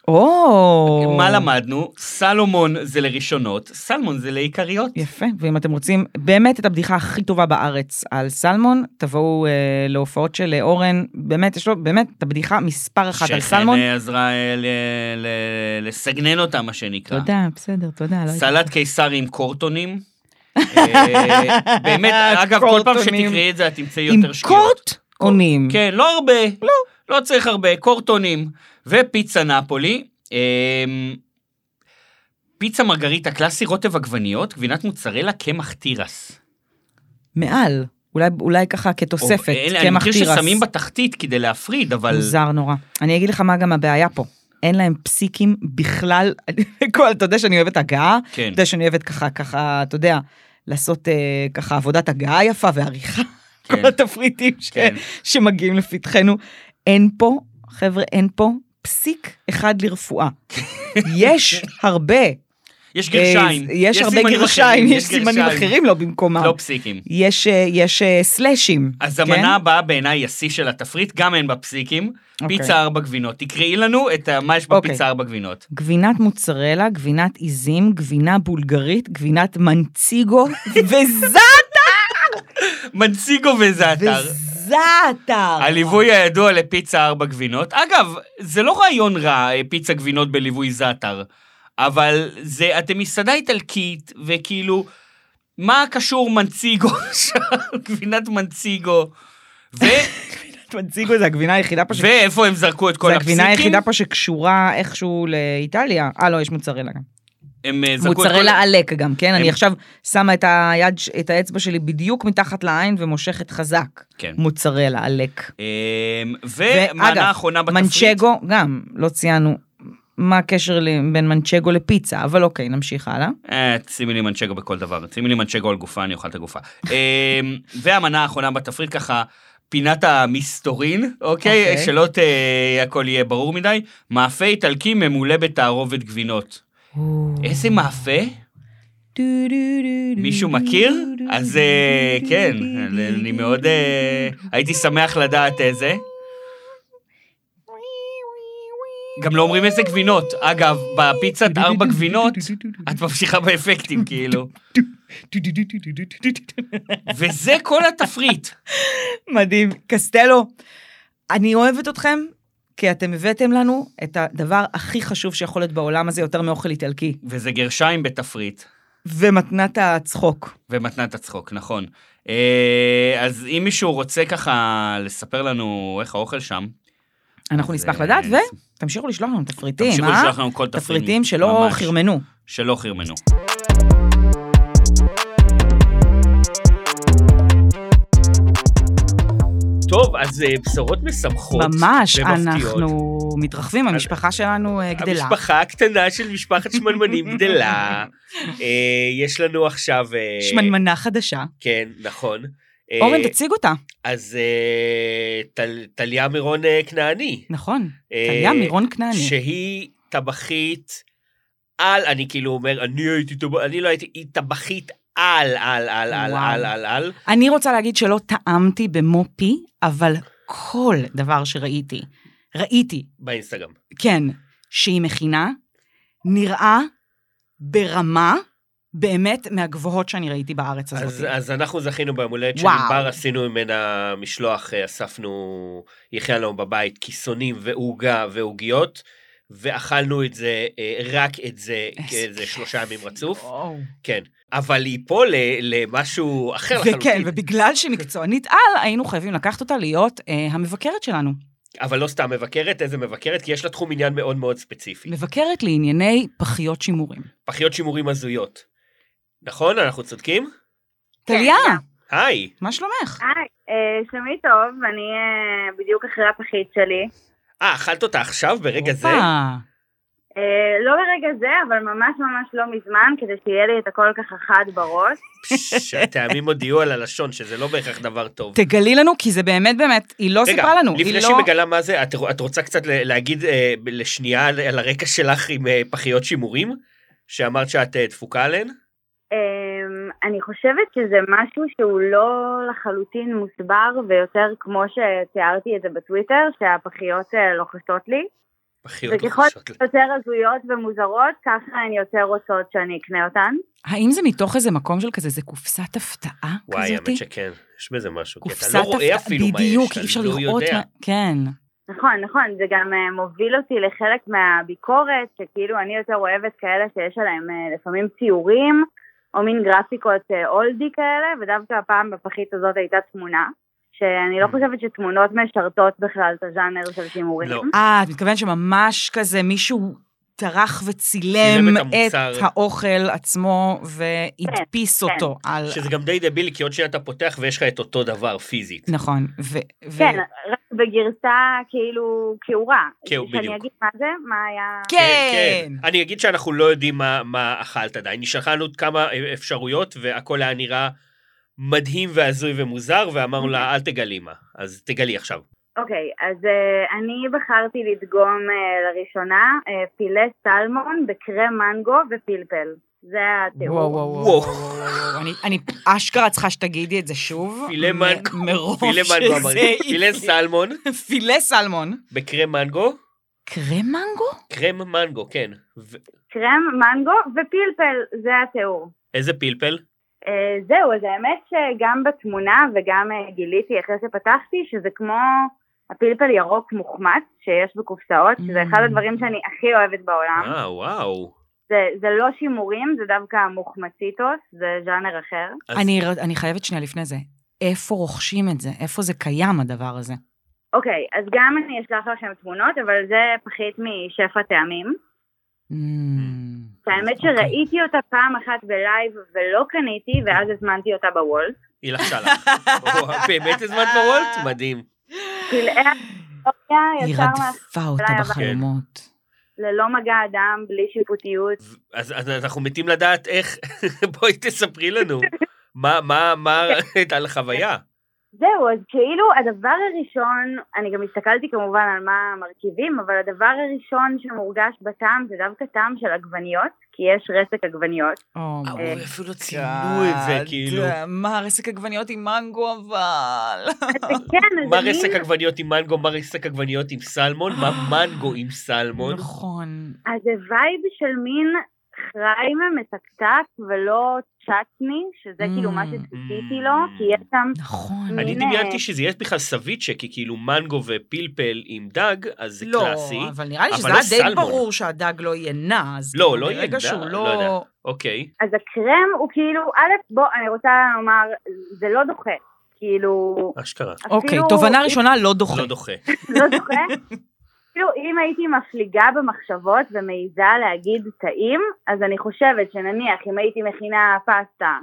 [SPEAKER 1] או...
[SPEAKER 2] מה למדנו? סלומון זה לראשונות, סלמון זה לעיקריות.
[SPEAKER 1] יפה, ואם אתם רוצים באמת את הבדיחה הכי טובה בארץ על סלמון, תבואו אה, להופעות של אה, אורן, באמת, יש לו באמת את הבדיחה מספר אחת על סלמון.
[SPEAKER 2] שכן אה, עזרה אה, ל- ל- לסגנן אותה, מה שנקרא.
[SPEAKER 1] תודה, בסדר, תודה. לא
[SPEAKER 2] סלט קיסר עם קורטונים. אה, באמת, אגב, כל פעם
[SPEAKER 1] קורטונים.
[SPEAKER 2] שתקראי את זה, את תמצאי
[SPEAKER 1] עם
[SPEAKER 2] יותר שגיאות.
[SPEAKER 1] קורט עונים.
[SPEAKER 2] כן, לא הרבה. לא. לא צריך הרבה, קורטונים. ופיצה נפולי. אמ, פיצה מרגריטה קלאסי, רוטב עגבניות, גבינת מוצרלה, קמח תירס.
[SPEAKER 1] מעל, אולי- אולי ככה כתוספת,
[SPEAKER 2] או- אוקיי, אני
[SPEAKER 1] קמח
[SPEAKER 2] מכיר
[SPEAKER 1] תירס.
[SPEAKER 2] ששמים בתחתית כדי להפריד, אבל...
[SPEAKER 1] מוזר נורא. אני אגיד לך מה גם הבעיה פה. אין להם פסיקים בכלל. כל, אתה יודע שאני אוהבת הגעה,
[SPEAKER 2] כן.
[SPEAKER 1] אתה יודע שאני אוהבת ככה, ככה, אתה יודע, לעשות אה, ככה עבודת הגעה יפה ועריכה.
[SPEAKER 2] כן.
[SPEAKER 1] כל התפריטים ש-
[SPEAKER 2] כן.
[SPEAKER 1] שמגיעים לפתחנו. אין פה, חבר'ה, אין פה פסיק אחד לרפואה. יש הרבה.
[SPEAKER 2] יש
[SPEAKER 1] אה,
[SPEAKER 2] גרשיים.
[SPEAKER 1] יש, הרבה
[SPEAKER 2] סימנים
[SPEAKER 1] גרשיים,
[SPEAKER 2] אחרים,
[SPEAKER 1] יש סימנים
[SPEAKER 2] גרשיים.
[SPEAKER 1] אחרים לא במקומם.
[SPEAKER 2] לא פסיקים.
[SPEAKER 1] יש, אה, יש אה, סלאשים.
[SPEAKER 2] אז
[SPEAKER 1] כן?
[SPEAKER 2] המנה הבאה בעיניי היא השיא של התפריט, גם אין בה פסיקים.
[SPEAKER 1] אוקיי.
[SPEAKER 2] פיצה ארבע גבינות. תקראי לנו את ה- מה יש
[SPEAKER 1] אוקיי.
[SPEAKER 2] בפיצה ארבע גבינות.
[SPEAKER 1] גבינת מוצרלה, גבינת עיזים, גבינה בולגרית, גבינת מנציגו, וזאטה!
[SPEAKER 2] מנציגו וזעתר.
[SPEAKER 1] וזאטה!
[SPEAKER 2] הליווי הידוע לפיצה ארבע גבינות. אגב, זה לא רעיון רע, אה, פיצה גבינות בליווי זעתר. אבל זה, אתם מסעדה איטלקית, וכאילו, מה קשור מנציגו שם, גבינת מנציגו, ו,
[SPEAKER 1] מנציגו זה הגבינה היחידה פה, ש-
[SPEAKER 2] ואיפה הם זרקו את כל
[SPEAKER 1] זה
[SPEAKER 2] הפסיקים?
[SPEAKER 1] הגבינה היחידה פה שקשורה איכשהו לאיטליה. אה, לא, יש מוצרלה גם.
[SPEAKER 2] הם אה, זרקו את כל...
[SPEAKER 1] מוצרלה עלק גם, כן?
[SPEAKER 2] הם-
[SPEAKER 1] אני עכשיו שמה את היד, ש- את האצבע שלי בדיוק מתחת לעין ומושכת חזק.
[SPEAKER 2] כן.
[SPEAKER 1] מוצרלה עלק.
[SPEAKER 2] אמ,
[SPEAKER 1] ואגב,
[SPEAKER 2] ומנה אחרונה בתפריט.
[SPEAKER 1] מנצ'גו, גם, לא ציינו מה הקשר ל- בין מנצ'גו לפיצה, אבל אוקיי, נמשיך הלאה.
[SPEAKER 2] אה, שימי לי מנצ'גו בכל דבר, שימי לי מנצ'גו על גופה, אני אוכל את הגופה. אמ, והמנה האחרונה בתפריט ככה, פינת המסתורין, אוקיי?
[SPEAKER 1] אוקיי.
[SPEAKER 2] שלא ת- אה, הכל יהיה ברור מדי. מאפה איטלקי ממולא בתערובת גבינות. איזה מאפה? מישהו מכיר? אז אה, כן, אני מאוד... אה, הייתי שמח לדעת איזה. גם לא אומרים איזה גבינות. אגב, בפיצת ארבע גבינות, את ממשיכה באפקטים, כאילו. וזה כל התפריט.
[SPEAKER 1] מדהים. קסטלו, אני אוהבת אתכם, כי אתם הבאתם לנו את הדבר הכי חשוב שיכול להיות בעולם הזה, יותר מאוכל איטלקי,
[SPEAKER 2] וזה גרשיים בתפריט.
[SPEAKER 1] ומתנת הצחוק.
[SPEAKER 2] ומתנת הצחוק, נכון. אה, אז אם מישהו רוצה ככה לספר לנו איך האוכל שם,
[SPEAKER 1] אנחנו
[SPEAKER 2] זה-
[SPEAKER 1] נשמח לדעת, ותמשיכו לשלוח לנו תפריטים, אה?
[SPEAKER 2] תמשיכו לשלוח לנו כל תפריט.
[SPEAKER 1] תפריטים שלא
[SPEAKER 2] ממש.
[SPEAKER 1] חרמנו.
[SPEAKER 2] שלא חרמנו. טוב, אז אה, בשורות משמחות
[SPEAKER 1] ממש,
[SPEAKER 2] ומפתיעות.
[SPEAKER 1] אנחנו מתרחבים, המשפחה שלנו אה, גדלה.
[SPEAKER 2] המשפחה הקטנה של משפחת שמנמנים גדלה. אה, יש לנו עכשיו... אה,
[SPEAKER 1] שמנמנה חדשה.
[SPEAKER 2] כן, נכון. אה,
[SPEAKER 1] אורן, תציג אותה.
[SPEAKER 4] אז אה, טל- טליה מירון אה, כנעני,
[SPEAKER 1] נכון,
[SPEAKER 4] אה,
[SPEAKER 1] טליה מירון כנעני.
[SPEAKER 4] שהיא טבחית על, אני כאילו אומר, אני הייתי טבחית, אני לא הייתי, היא טבחית על, על, על, על,
[SPEAKER 1] וואו.
[SPEAKER 4] על, על, על.
[SPEAKER 1] אני רוצה להגיד שלא טעמתי במו פי, אבל כל דבר שראיתי, ראיתי,
[SPEAKER 4] באינסטגרם.
[SPEAKER 1] כן, שהיא מכינה, נראה ברמה באמת מהגבוהות שאני ראיתי בארץ הזאת.
[SPEAKER 4] אז, אז אנחנו זכינו ביום הולדת של
[SPEAKER 1] וואו.
[SPEAKER 4] ענבר, עשינו ממנה משלוח, אה, אספנו, היא הכינה לנו בבית כיסונים ועוגה ועוגיות, ואכלנו את זה, אה, רק את כן, זה,
[SPEAKER 1] איזה
[SPEAKER 4] איזה
[SPEAKER 1] כיף.
[SPEAKER 4] שלושה ימים רצוף,
[SPEAKER 1] אה, כן. וואו.
[SPEAKER 4] כן. אבל היא פה ל- למשהו אחר
[SPEAKER 1] וכן,
[SPEAKER 4] לחלוטין.
[SPEAKER 1] ובגלל שהיא מקצוענית על, היינו חייבים לקחת אותה להיות אה, המבקרת שלנו.
[SPEAKER 4] אבל לא סתם מבקרת, איזה מבקרת? כי יש לה תחום עניין מאוד מאוד ספציפי.
[SPEAKER 1] מבקרת לענייני פחיות שימורים.
[SPEAKER 4] פחיות שימורים הזויות. נכון? אנחנו צודקים?
[SPEAKER 1] טליה,
[SPEAKER 4] היי.
[SPEAKER 1] מה שלומך?
[SPEAKER 5] היי, אה, שלומי טוב, אני אה, בדיוק אחרי הפחית שלי.
[SPEAKER 4] אה, אכלת אותה עכשיו ברגע זה?
[SPEAKER 1] הופה.
[SPEAKER 5] אה, לא ברגע זה, אבל ממש ממש לא מזמן, כדי שיהיה לי את הכל ככה חד בראש.
[SPEAKER 4] פש, הטעמים הודיעו על הלשון, שזה לא בהכרח דבר טוב.
[SPEAKER 1] תגלי לנו, כי זה באמת באמת, היא לא
[SPEAKER 4] רגע,
[SPEAKER 1] סיפרה לנו. היא
[SPEAKER 4] לפני
[SPEAKER 1] לא-
[SPEAKER 4] שהיא מגלה מה זה, את, את רוצה קצת ל- להגיד אה, ב- לשנייה על, על הרקע שלך עם אה, פחיות שימורים? שאמרת שאת אה, דפוקה עליהן?
[SPEAKER 5] אה, אני חושבת שזה משהו שהוא לא לחלוטין מוסבר, ויותר כמו שתיארתי את זה בטוויטר, שהפחיות אה, לוחשות לי.
[SPEAKER 2] לא
[SPEAKER 4] פחיות
[SPEAKER 5] וככל-
[SPEAKER 4] לוחשות.
[SPEAKER 5] יותר הזויות ומוזרות, ככה הן יותר רוצות שאני אקנה אותן.
[SPEAKER 1] האם זה מתוך איזה מקום של כזה, זה קופסת הפתעה
[SPEAKER 4] וואי, האמת
[SPEAKER 1] כזאתי?
[SPEAKER 4] שכן, יש בזה משהו. כי אתה
[SPEAKER 1] קופסת
[SPEAKER 4] לא רואה
[SPEAKER 1] הפתעה,
[SPEAKER 4] אפילו מה יש,
[SPEAKER 1] בדיוק, אי
[SPEAKER 4] אתה
[SPEAKER 1] אפשר
[SPEAKER 4] לא
[SPEAKER 1] לראות
[SPEAKER 4] יודע.
[SPEAKER 1] מה... כן.
[SPEAKER 5] נכון, נכון, זה גם אה, מוביל אותי לחלק מהביקורת, שכאילו אני יותר אוהבת כאלה שיש עליהם אה, לפעמים ציורים, או מין גרפיקות אה, אולדי כאלה, ודווקא הפעם בפחית הזאת הייתה תמונה, שאני
[SPEAKER 4] Mm.
[SPEAKER 5] לא חושבת שתמונות משרתות בכלל את הז'אנר של שימורים.
[SPEAKER 4] לא.
[SPEAKER 1] אה, את מתכוונת שממש כזה מישהו טרח וצילם
[SPEAKER 4] צילם את
[SPEAKER 1] את
[SPEAKER 4] המוצר.
[SPEAKER 1] האוכל עצמו והדפיס
[SPEAKER 5] כן, כן.
[SPEAKER 1] אותו על...
[SPEAKER 4] שזה גם די דבילי, כי עוד שנייה אתה פותח ויש לך את אותו דבר פיזית.
[SPEAKER 1] נכון, ו- ו...
[SPEAKER 5] כן, רק בגרסה כאילו כעורה.
[SPEAKER 4] כן, בדיוק.
[SPEAKER 5] שאני אגיד מה זה, מה היה...
[SPEAKER 1] כן!
[SPEAKER 4] אני אגיד שאנחנו לא יודעים מה, מה אכלת עדיין. נשלחה לנו כמה אה, אפשרויות, והכל היה נראה מדהים והזוי ומוזר, ואמרנו לה, אל תגלי מה. אז תגלי עכשיו.
[SPEAKER 5] אוקיי, אז uh, אני בחרתי לדגום uh, לראשונה uh, פילה סלמון בקרם מנגו ופלפל. זה
[SPEAKER 1] וואו,
[SPEAKER 5] התיאור.
[SPEAKER 1] וואו, וואו, וואו,
[SPEAKER 4] וואו.
[SPEAKER 1] וואו, וואו, אני- אני אשכרה צריכה שתגידי את זה שוב.
[SPEAKER 4] פילה
[SPEAKER 1] מ-
[SPEAKER 4] מנגו.
[SPEAKER 1] מרוב
[SPEAKER 4] פילה מנגו, אמרתי. פילה
[SPEAKER 1] שזה...
[SPEAKER 4] סלמון
[SPEAKER 1] פילה סלמון.
[SPEAKER 4] בקרם מנגו.
[SPEAKER 1] קרם מנגו?
[SPEAKER 4] קרם מנגו, כן. ו-
[SPEAKER 5] קרם מנגו ופלפל, זה התיאור.
[SPEAKER 4] איזה פלפל?
[SPEAKER 5] אה, זהו, אז האמת שגם בתמונה וגם אה, גיליתי אחרי שפתחתי שזה כמו הפלפל
[SPEAKER 1] Mm. אה?
[SPEAKER 5] ירוק מוחמץ שיש בקופסאות, שזה אחד הדברים שאני הכי אוהבת בעולם.
[SPEAKER 4] אה, וואו.
[SPEAKER 5] זה, זה לא שימורים, זה דווקא מוחמציטוס, זה ז'אנר אחר.
[SPEAKER 2] אז-
[SPEAKER 1] אני, ר- אני חייבת שנייה לפני זה. איפה רוכשים את זה? איפה זה קיים, הדבר הזה? Mm.
[SPEAKER 5] אוקיי, אז גם אני אשלח לכם תמונות, אבל זה פחית משפע טעמים.
[SPEAKER 1] Mm,
[SPEAKER 5] האמת
[SPEAKER 1] אוקיי.
[SPEAKER 5] שראיתי אותה פעם אחת בלייב ולא קניתי, ואז הזמנתי אותה בוולט.
[SPEAKER 2] היא לחשה לך. וואו, באמת הזמנת בוולט? מדהים.
[SPEAKER 5] פלאי ההיסטוריה
[SPEAKER 1] אוקיי. היא
[SPEAKER 5] יצר מה...
[SPEAKER 1] רדפה אותה
[SPEAKER 5] אליי הבא.
[SPEAKER 1] בחלומות.
[SPEAKER 2] כן.
[SPEAKER 5] ללא מגע אדם, בלי שיפוטיות.
[SPEAKER 2] אז אז אנחנו מתים לדעת איך, בואי תספרי לנו. מה, מה, מה, על חוויה.
[SPEAKER 1] אה,
[SPEAKER 5] זהו, אז כאילו הדבר הראשון, אני גם הסתכלתי כמובן על מה המרכיבים, אבל הדבר הראשון שמורגש בטעם זה דווקא טעם של עגבניות, כי יש רסק עגבניות.
[SPEAKER 1] Oh my
[SPEAKER 5] אה,
[SPEAKER 2] ההוא אפילו לא ציינו אה, את זה,
[SPEAKER 1] God.
[SPEAKER 2] כאילו.
[SPEAKER 1] מה, רסק עגבניות עם מנגו, אבל...
[SPEAKER 5] כן, אז
[SPEAKER 2] מה
[SPEAKER 5] אני-
[SPEAKER 2] רסק עגבניות עם מנגו, מה רסק עגבניות עם סלמון, מה מנגו עם סלמון.
[SPEAKER 1] אה, נכון.
[SPEAKER 5] אז זה וייב של מין חריימה מתקתק ולא צ'טני, שזה
[SPEAKER 1] Mm.
[SPEAKER 5] כאילו מה שציפיתי לו, כי יש שם...
[SPEAKER 1] נכון.
[SPEAKER 2] אני
[SPEAKER 5] הנה.
[SPEAKER 2] דמיינתי שזה יהיה בכלל סביצ'ה, כי כאילו מנגו ופלפל עם דג, אז זה קלאסי.
[SPEAKER 1] לא, אבל נראה לי
[SPEAKER 2] אבל
[SPEAKER 1] שזה
[SPEAKER 2] לא
[SPEAKER 1] היה די
[SPEAKER 2] סלמון.
[SPEAKER 1] ברור שהדג לא יהיה נע, אז
[SPEAKER 2] לא,
[SPEAKER 1] כאילו,
[SPEAKER 2] לא יהיה
[SPEAKER 1] ברגע
[SPEAKER 2] נע,
[SPEAKER 1] שהוא
[SPEAKER 2] לא
[SPEAKER 1] לא...
[SPEAKER 2] יודע. אוקיי.
[SPEAKER 5] אז הקרם הוא כאילו, א', בוא, אני רוצה לומר, זה לא דוחה. כאילו,
[SPEAKER 2] אשכרה.
[SPEAKER 1] אוקיי,
[SPEAKER 5] אפילו-
[SPEAKER 1] תובנה ראשונה, לא דוחה.
[SPEAKER 2] לא דוחה.
[SPEAKER 5] לא דוחה. כאילו, אם הייתי מפליגה במחשבות ומעיזה להגיד טעים, אז אני חושבת שנניח אם הייתי מכינה פסטה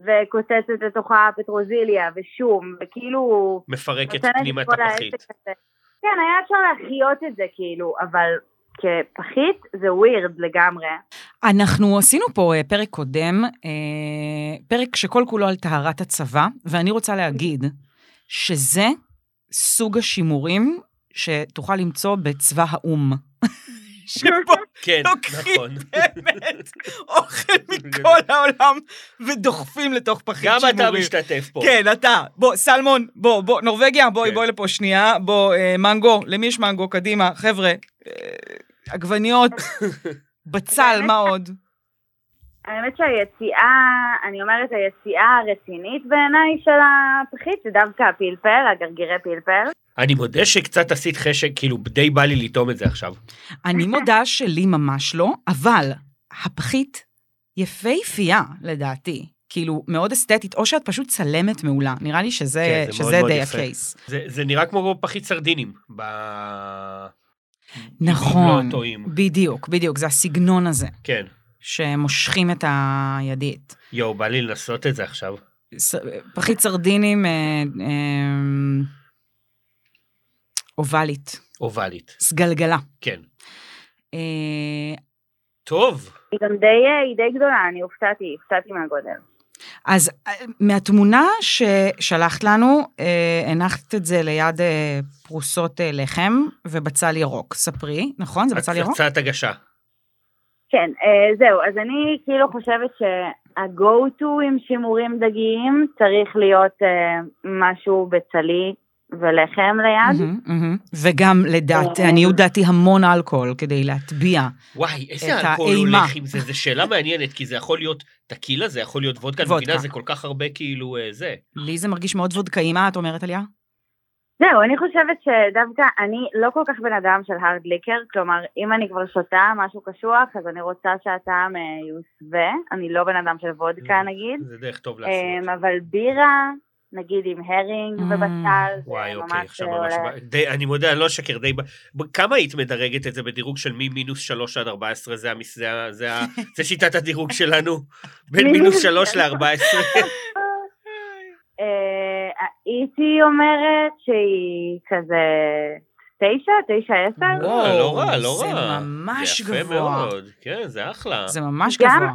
[SPEAKER 5] וקוצצת לתוכה פטרוזיליה ושום, וכאילו...
[SPEAKER 2] מפרקת
[SPEAKER 5] נותנת את
[SPEAKER 2] פנימה את
[SPEAKER 5] כל
[SPEAKER 2] הפחית.
[SPEAKER 5] העסק הזה. כן, היה אפשר להחיות את זה כאילו, אבל כפחית זה ווירד לגמרי.
[SPEAKER 1] אנחנו עשינו פה אה, פרק קודם, אה, פרק שכל כולו על טהרת הצבא, ואני רוצה להגיד שזה סוג השימורים שתוכל למצוא בצבא האו"ם. שבו
[SPEAKER 2] כן,
[SPEAKER 1] לוקחים
[SPEAKER 2] נכון.
[SPEAKER 1] באמת אוכל מכל העולם ודוחפים לתוך פחית
[SPEAKER 2] גם
[SPEAKER 1] שימורים.
[SPEAKER 2] אתה משתתף פה.
[SPEAKER 1] כן, אתה. בוא, סלמון, בוא, בוא, נורבגיה, בואי,
[SPEAKER 2] כן.
[SPEAKER 1] בואי לפה שנייה, בוא, אה, מנגו, למי יש מנגו? קדימה, חבר'ה, אה, עגבניות, בצל, מה עוד?
[SPEAKER 5] האמת שהיציאה, אני אומרת היציאה הרצינית בעיניי של הפחית זה דווקא הפלפל, הגרגירי פלפל.
[SPEAKER 2] אני מודה שקצת עשית חשק, כאילו די בא לי לטעום את זה עכשיו.
[SPEAKER 1] אני מודה שלי ממש לא, אבל הפחית יפהפייה, לדעתי. כאילו, מאוד אסתטית, או שאת פשוט צלמת מעולה. נראה לי שזה,
[SPEAKER 2] כן, זה מאוד
[SPEAKER 1] שזה
[SPEAKER 2] מאוד
[SPEAKER 1] די
[SPEAKER 2] יפה.
[SPEAKER 1] הקייס.
[SPEAKER 2] זה- זה נראה כמו פחית סרדינים. ב-
[SPEAKER 1] נכון,
[SPEAKER 2] לא טועים.
[SPEAKER 1] בדיוק, בדיוק, זה הסגנון הזה,
[SPEAKER 2] כן.
[SPEAKER 1] שמושכים את הידית.
[SPEAKER 2] יואו, בא לי לנסות את זה עכשיו.
[SPEAKER 1] ס- פחית סרדינים אה, אה, אובלית,
[SPEAKER 2] אובלית.
[SPEAKER 1] סגלגלה.
[SPEAKER 2] כן.
[SPEAKER 1] אה,
[SPEAKER 2] טוב.
[SPEAKER 5] היא גם די, אה, היא די גדולה, אני הופתעתי, הופתעתי מהגודל.
[SPEAKER 1] אז אה, מהתמונה ששלחת לנו, אה, הנחת את זה ליד אה, פרוסות אה, לחם ובצל ירוק. ספרי, נכון?
[SPEAKER 2] אה,
[SPEAKER 1] זה בצל ירוק?
[SPEAKER 2] הצעת הגשה.
[SPEAKER 5] כן, אה, זהו, אז אני כאילו חושבת שה-go to עם שימורים דגיים צריך להיות אה, משהו בצלי ולחם ליד.
[SPEAKER 1] מהמם, מהמם. וגם לדעתי,
[SPEAKER 5] אה.
[SPEAKER 1] עניות דעתי, המון אלכוהול כדי להטביע.
[SPEAKER 2] וואי,
[SPEAKER 1] את
[SPEAKER 2] איזה אלכוהול
[SPEAKER 1] האימה.
[SPEAKER 2] הולך עם זה? זו שאלה מעניינת, כי זה יכול להיות טקילה, זה יכול להיות וודקה, אני מבינה,
[SPEAKER 1] וודקה.
[SPEAKER 2] זה כל כך הרבה כאילו אה, זה.
[SPEAKER 1] לי זה מרגיש מאוד וודקאי, מה את אומרת, עליה?
[SPEAKER 5] זהו, אני חושבת שדווקא אני לא כל כך בן אדם של הארד ליקר, כלומר, אם אני כבר שותה משהו קשוח, אז אני רוצה שהטעם אה, יוסווה, אני לא בן אדם של וודקה נגיד,
[SPEAKER 2] זה דרך טוב לעשות.
[SPEAKER 5] כן. אה, אבל בירה, נגיד עם הרינג
[SPEAKER 1] Mm.
[SPEAKER 5] ובצל, זה
[SPEAKER 2] וואי, אוקיי,
[SPEAKER 5] ממש אה,
[SPEAKER 2] עכשיו ממש...
[SPEAKER 5] עולה.
[SPEAKER 2] בא- די- אני מודה, אני לא אשקר, די... ב- ב- כמה היית מדרגת את זה בדירוג של ממינוס 3 עד 14? זה המס- זה ה- זה ה- זה שיטת הדירוג שלנו, בין
[SPEAKER 5] מינוס
[SPEAKER 2] מינוס 3
[SPEAKER 5] שלוש.
[SPEAKER 2] ל-14.
[SPEAKER 5] אה, הייתי אומרת שהיא כזה תשע, תשע עשר.
[SPEAKER 1] וואו,
[SPEAKER 2] לא רע, לא
[SPEAKER 1] זה
[SPEAKER 2] רע.
[SPEAKER 1] ממש
[SPEAKER 2] זה יפה
[SPEAKER 1] גבוה.
[SPEAKER 2] מאוד, כן, זה אחלה.
[SPEAKER 1] זה ממש
[SPEAKER 5] גם-
[SPEAKER 1] גבוה.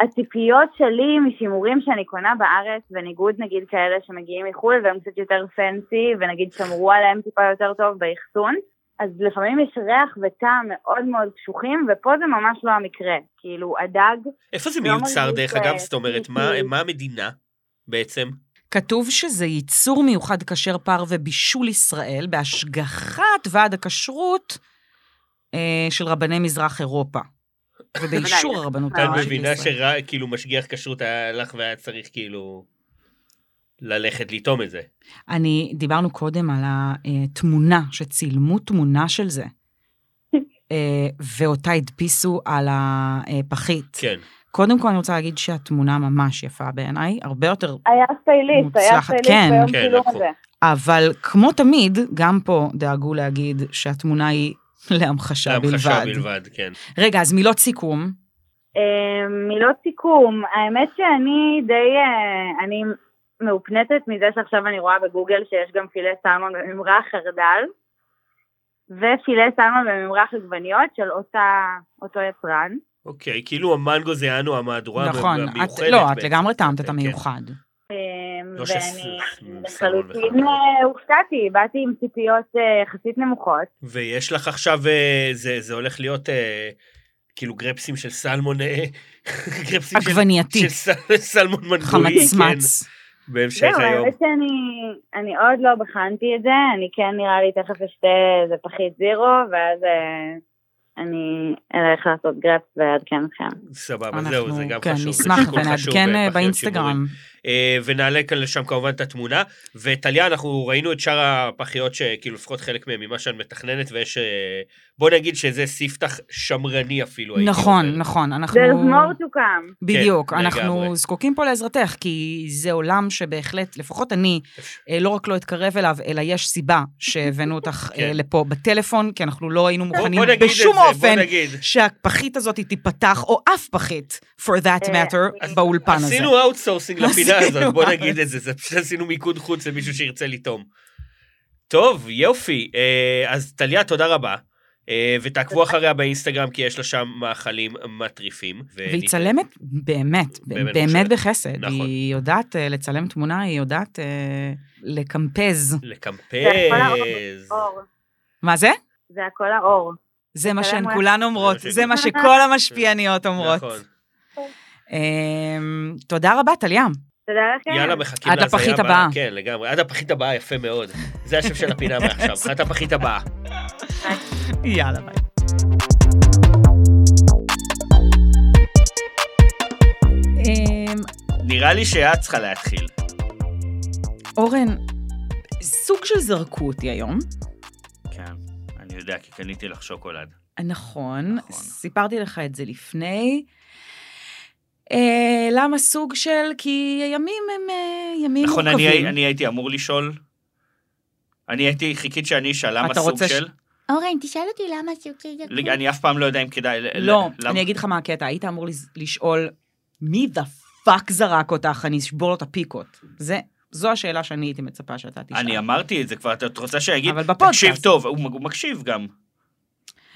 [SPEAKER 5] הציפיות שלי משימורים שאני קונה בארץ, בניגוד נגיד כאלה שמגיעים מחו"ל והם קצת יותר פנסי, ונגיד שמרו עליהם טיפה יותר טוב באחסון, אז לפעמים יש ריח וטעם מאוד מאוד קשוחים, ופה זה ממש לא המקרה. כאילו, הדג,
[SPEAKER 2] איפה זה
[SPEAKER 5] לא
[SPEAKER 2] מיוצר,
[SPEAKER 5] מרגיש,
[SPEAKER 2] דרך
[SPEAKER 5] אה,
[SPEAKER 2] אגב? זאת אומרת, מה-
[SPEAKER 5] פיפי.
[SPEAKER 2] מה המדינה בעצם?
[SPEAKER 1] כתוב שזה ייצור מיוחד כשר פר ובישול ישראל בהשגחת ועד הכשרות אה, של רבני מזרח אירופה. ובאישור
[SPEAKER 5] בוודאי.
[SPEAKER 1] הרבנות
[SPEAKER 5] אה,
[SPEAKER 2] את
[SPEAKER 1] הראשית
[SPEAKER 2] מבינה
[SPEAKER 1] לישראל.
[SPEAKER 2] שכאילו משגיח כשרות היה לך והיה צריך כאילו ללכת לטעום את זה.
[SPEAKER 1] אה, אני, דיברנו קודם על התמונה, שצילמו תמונה של זה. אה, ואותה הדפיסו על הפחית.
[SPEAKER 4] כן.
[SPEAKER 1] קודם כל אני רוצה להגיד שהתמונה ממש יפה בעיניי, הרבה יותר,
[SPEAKER 5] היה סטייליסט, היה
[SPEAKER 1] מוצלחת,
[SPEAKER 5] סטייליסט
[SPEAKER 1] כן.
[SPEAKER 5] ביום
[SPEAKER 4] כן,
[SPEAKER 5] צילום
[SPEAKER 4] נכון.
[SPEAKER 5] הזה.
[SPEAKER 1] אבל כמו תמיד, גם פה דאגו להגיד שהתמונה היא להמחשה
[SPEAKER 4] המחשה
[SPEAKER 1] בלבד.
[SPEAKER 4] בלבד, כן.
[SPEAKER 1] רגע, אז מילות סיכום.
[SPEAKER 5] אה, מילות סיכום, האמת שאני די, אה, אני מאופנטת מזה שעכשיו אני רואה בגוגל שיש גם פילה סלמון בממרח חרדל, ופילה סלמון בממרח עגבניות של אותה, אותו יצרן.
[SPEAKER 4] אוקיי, כאילו המנגו זה יענו המהדורה
[SPEAKER 1] נכון,
[SPEAKER 4] המ-
[SPEAKER 1] את,
[SPEAKER 4] המיוחדת.
[SPEAKER 1] לא, את
[SPEAKER 4] בעצם.
[SPEAKER 1] לגמרי טעמת את
[SPEAKER 4] כן.
[SPEAKER 1] המיוחד.
[SPEAKER 5] אה,
[SPEAKER 4] לא
[SPEAKER 5] ואני
[SPEAKER 4] שס- סלמון
[SPEAKER 5] לחלוטין
[SPEAKER 4] וחרדל.
[SPEAKER 5] אה, הופתעתי, באתי עם ציפיות אה, יחסית נמוכות.
[SPEAKER 4] ויש לך עכשיו, אה, זה זה הולך להיות אה, כאילו גרפסים של סלמון, אה, גרפסים של-
[SPEAKER 1] עגבנייתי,
[SPEAKER 4] של סל- סלמון מנגוי, כן,
[SPEAKER 1] חמצמץ.
[SPEAKER 4] בהמשך
[SPEAKER 5] זהו,
[SPEAKER 4] היום.
[SPEAKER 5] לא, האמת שאני אני עוד לא בחנתי את זה, אני כן נראה לי תכף אשתה איזה פחית זירו, ואז אה, אני אלך לעשות כן גרפס ואעדכן אתכם.
[SPEAKER 4] סבבה, זהו, זה
[SPEAKER 1] אנחנו,
[SPEAKER 4] גם
[SPEAKER 1] כן,
[SPEAKER 4] חשוב. זה
[SPEAKER 1] נשמח
[SPEAKER 4] שיקול חשוב
[SPEAKER 1] ונעדכן אה,
[SPEAKER 4] בפחיות
[SPEAKER 1] באינסטגרם.
[SPEAKER 4] אה, ונעלה כאן לשם כמובן את התמונה. וטליה, אנחנו ראינו את שאר הפחיות שכאילו לפחות חלק מהן ממה שאת מתכננת, ויש... אה, בוא נגיד שזה ספתח שמרני אפילו. הייתי אומר.
[SPEAKER 1] נכון, נכון, אנחנו...
[SPEAKER 5] There's more to come.
[SPEAKER 1] בדיוק,
[SPEAKER 4] לא, אוקיי. כן,
[SPEAKER 1] אנחנו
[SPEAKER 4] לגמרי.
[SPEAKER 1] זקוקים פה לעזרתך, כי זה עולם שבהחלט, לפחות אני, אה, לא רק לא אתקרב אליו, אלא יש סיבה שהבאנו אותך
[SPEAKER 4] כן.
[SPEAKER 1] אה, לפה בטלפון, כי אנחנו לא היינו
[SPEAKER 4] בוא-
[SPEAKER 1] מוכנים
[SPEAKER 4] בוא נגיד את זה,
[SPEAKER 1] בשום
[SPEAKER 4] בוא
[SPEAKER 1] אופן
[SPEAKER 4] נגיד.
[SPEAKER 1] שהפחית הזאת היא תיפתח, או אף פחית, for that
[SPEAKER 5] אה,
[SPEAKER 1] matter,
[SPEAKER 5] אז-
[SPEAKER 1] באולפן הזה.
[SPEAKER 4] עשינו אאוטסורסינג לפינה
[SPEAKER 1] עשינו
[SPEAKER 4] הזאת, בוא
[SPEAKER 1] out-
[SPEAKER 4] נגיד את זה, זה פשוט עשינו מיקוד חוץ למישהו שירצה לטעום. טוב, יופי, אה, אז טליה, תודה רבה. אה, ותעקבו אחריה באינסטגרם, כי יש לה שם מאכלים מטריפים.
[SPEAKER 1] והיא צלמת באמת,
[SPEAKER 4] באמת
[SPEAKER 1] באמת,
[SPEAKER 4] מוכשרת.
[SPEAKER 1] באמת בחסד.
[SPEAKER 4] נכון.
[SPEAKER 1] היא יודעת אה, לצלם תמונה, היא יודעת אה, לקמפז.
[SPEAKER 5] זה הכל האור.
[SPEAKER 4] לקמפז.
[SPEAKER 5] אור.
[SPEAKER 1] מה זה?
[SPEAKER 5] זה הכל האור.
[SPEAKER 1] זה מה שהן
[SPEAKER 5] צלם
[SPEAKER 1] כולן אומרות,
[SPEAKER 4] זה מה
[SPEAKER 1] זה מה
[SPEAKER 5] שהן-
[SPEAKER 1] שכל המשפיעניות אומרות.
[SPEAKER 4] נכון.
[SPEAKER 1] אמ, תודה רבה, טליה.
[SPEAKER 5] תודה לכם.
[SPEAKER 4] יאללה, מחכים
[SPEAKER 1] עד
[SPEAKER 4] להזיה
[SPEAKER 1] הפחית
[SPEAKER 4] הבאה.
[SPEAKER 1] הבאה.
[SPEAKER 4] כן, לגמרי. עד הפחית הבאה, יפה מאוד. זה השם של הפינה מעכשיו, עד הפחית הבאה.
[SPEAKER 1] יאללה, ביי. אמ,
[SPEAKER 4] נראה לי שאת צריכה להתחיל.
[SPEAKER 1] אורן, סוג של זרקו אותי היום.
[SPEAKER 2] כן, אני יודע, כי קניתי לך שוקולד.
[SPEAKER 1] נכון,
[SPEAKER 2] נכון.
[SPEAKER 1] סיפרתי לך את זה לפני. אה, למה סוג של, כי הימים הם אה, ימים
[SPEAKER 2] נכון, אני
[SPEAKER 1] מורכבים.
[SPEAKER 2] הי- אני הייתי אמור לשאול. אני הייתי, חיכית שאני אשאל למה
[SPEAKER 1] אתה
[SPEAKER 2] סוג
[SPEAKER 1] רוצה ש-
[SPEAKER 2] של...
[SPEAKER 6] אורן, תשאל אותי למה סוכי זה
[SPEAKER 2] לג- אני אף פעם לא יודע אם כדאי... ל-
[SPEAKER 1] לא,
[SPEAKER 2] ל- למה-
[SPEAKER 1] אני אגיד לך מה הקטע, היית אמור לז- לשאול, מי דה פאק זרק אותך, אני אשבור לו את הפיקות. זה, זו השאלה שאני הייתי מצפה שאתה תשאל.
[SPEAKER 2] אני אמרתי את זה כבר, את רוצה שיגיד?
[SPEAKER 1] אבל בפודקאסט.
[SPEAKER 2] תקשיב טוב, הוא הוא מקשיב גם.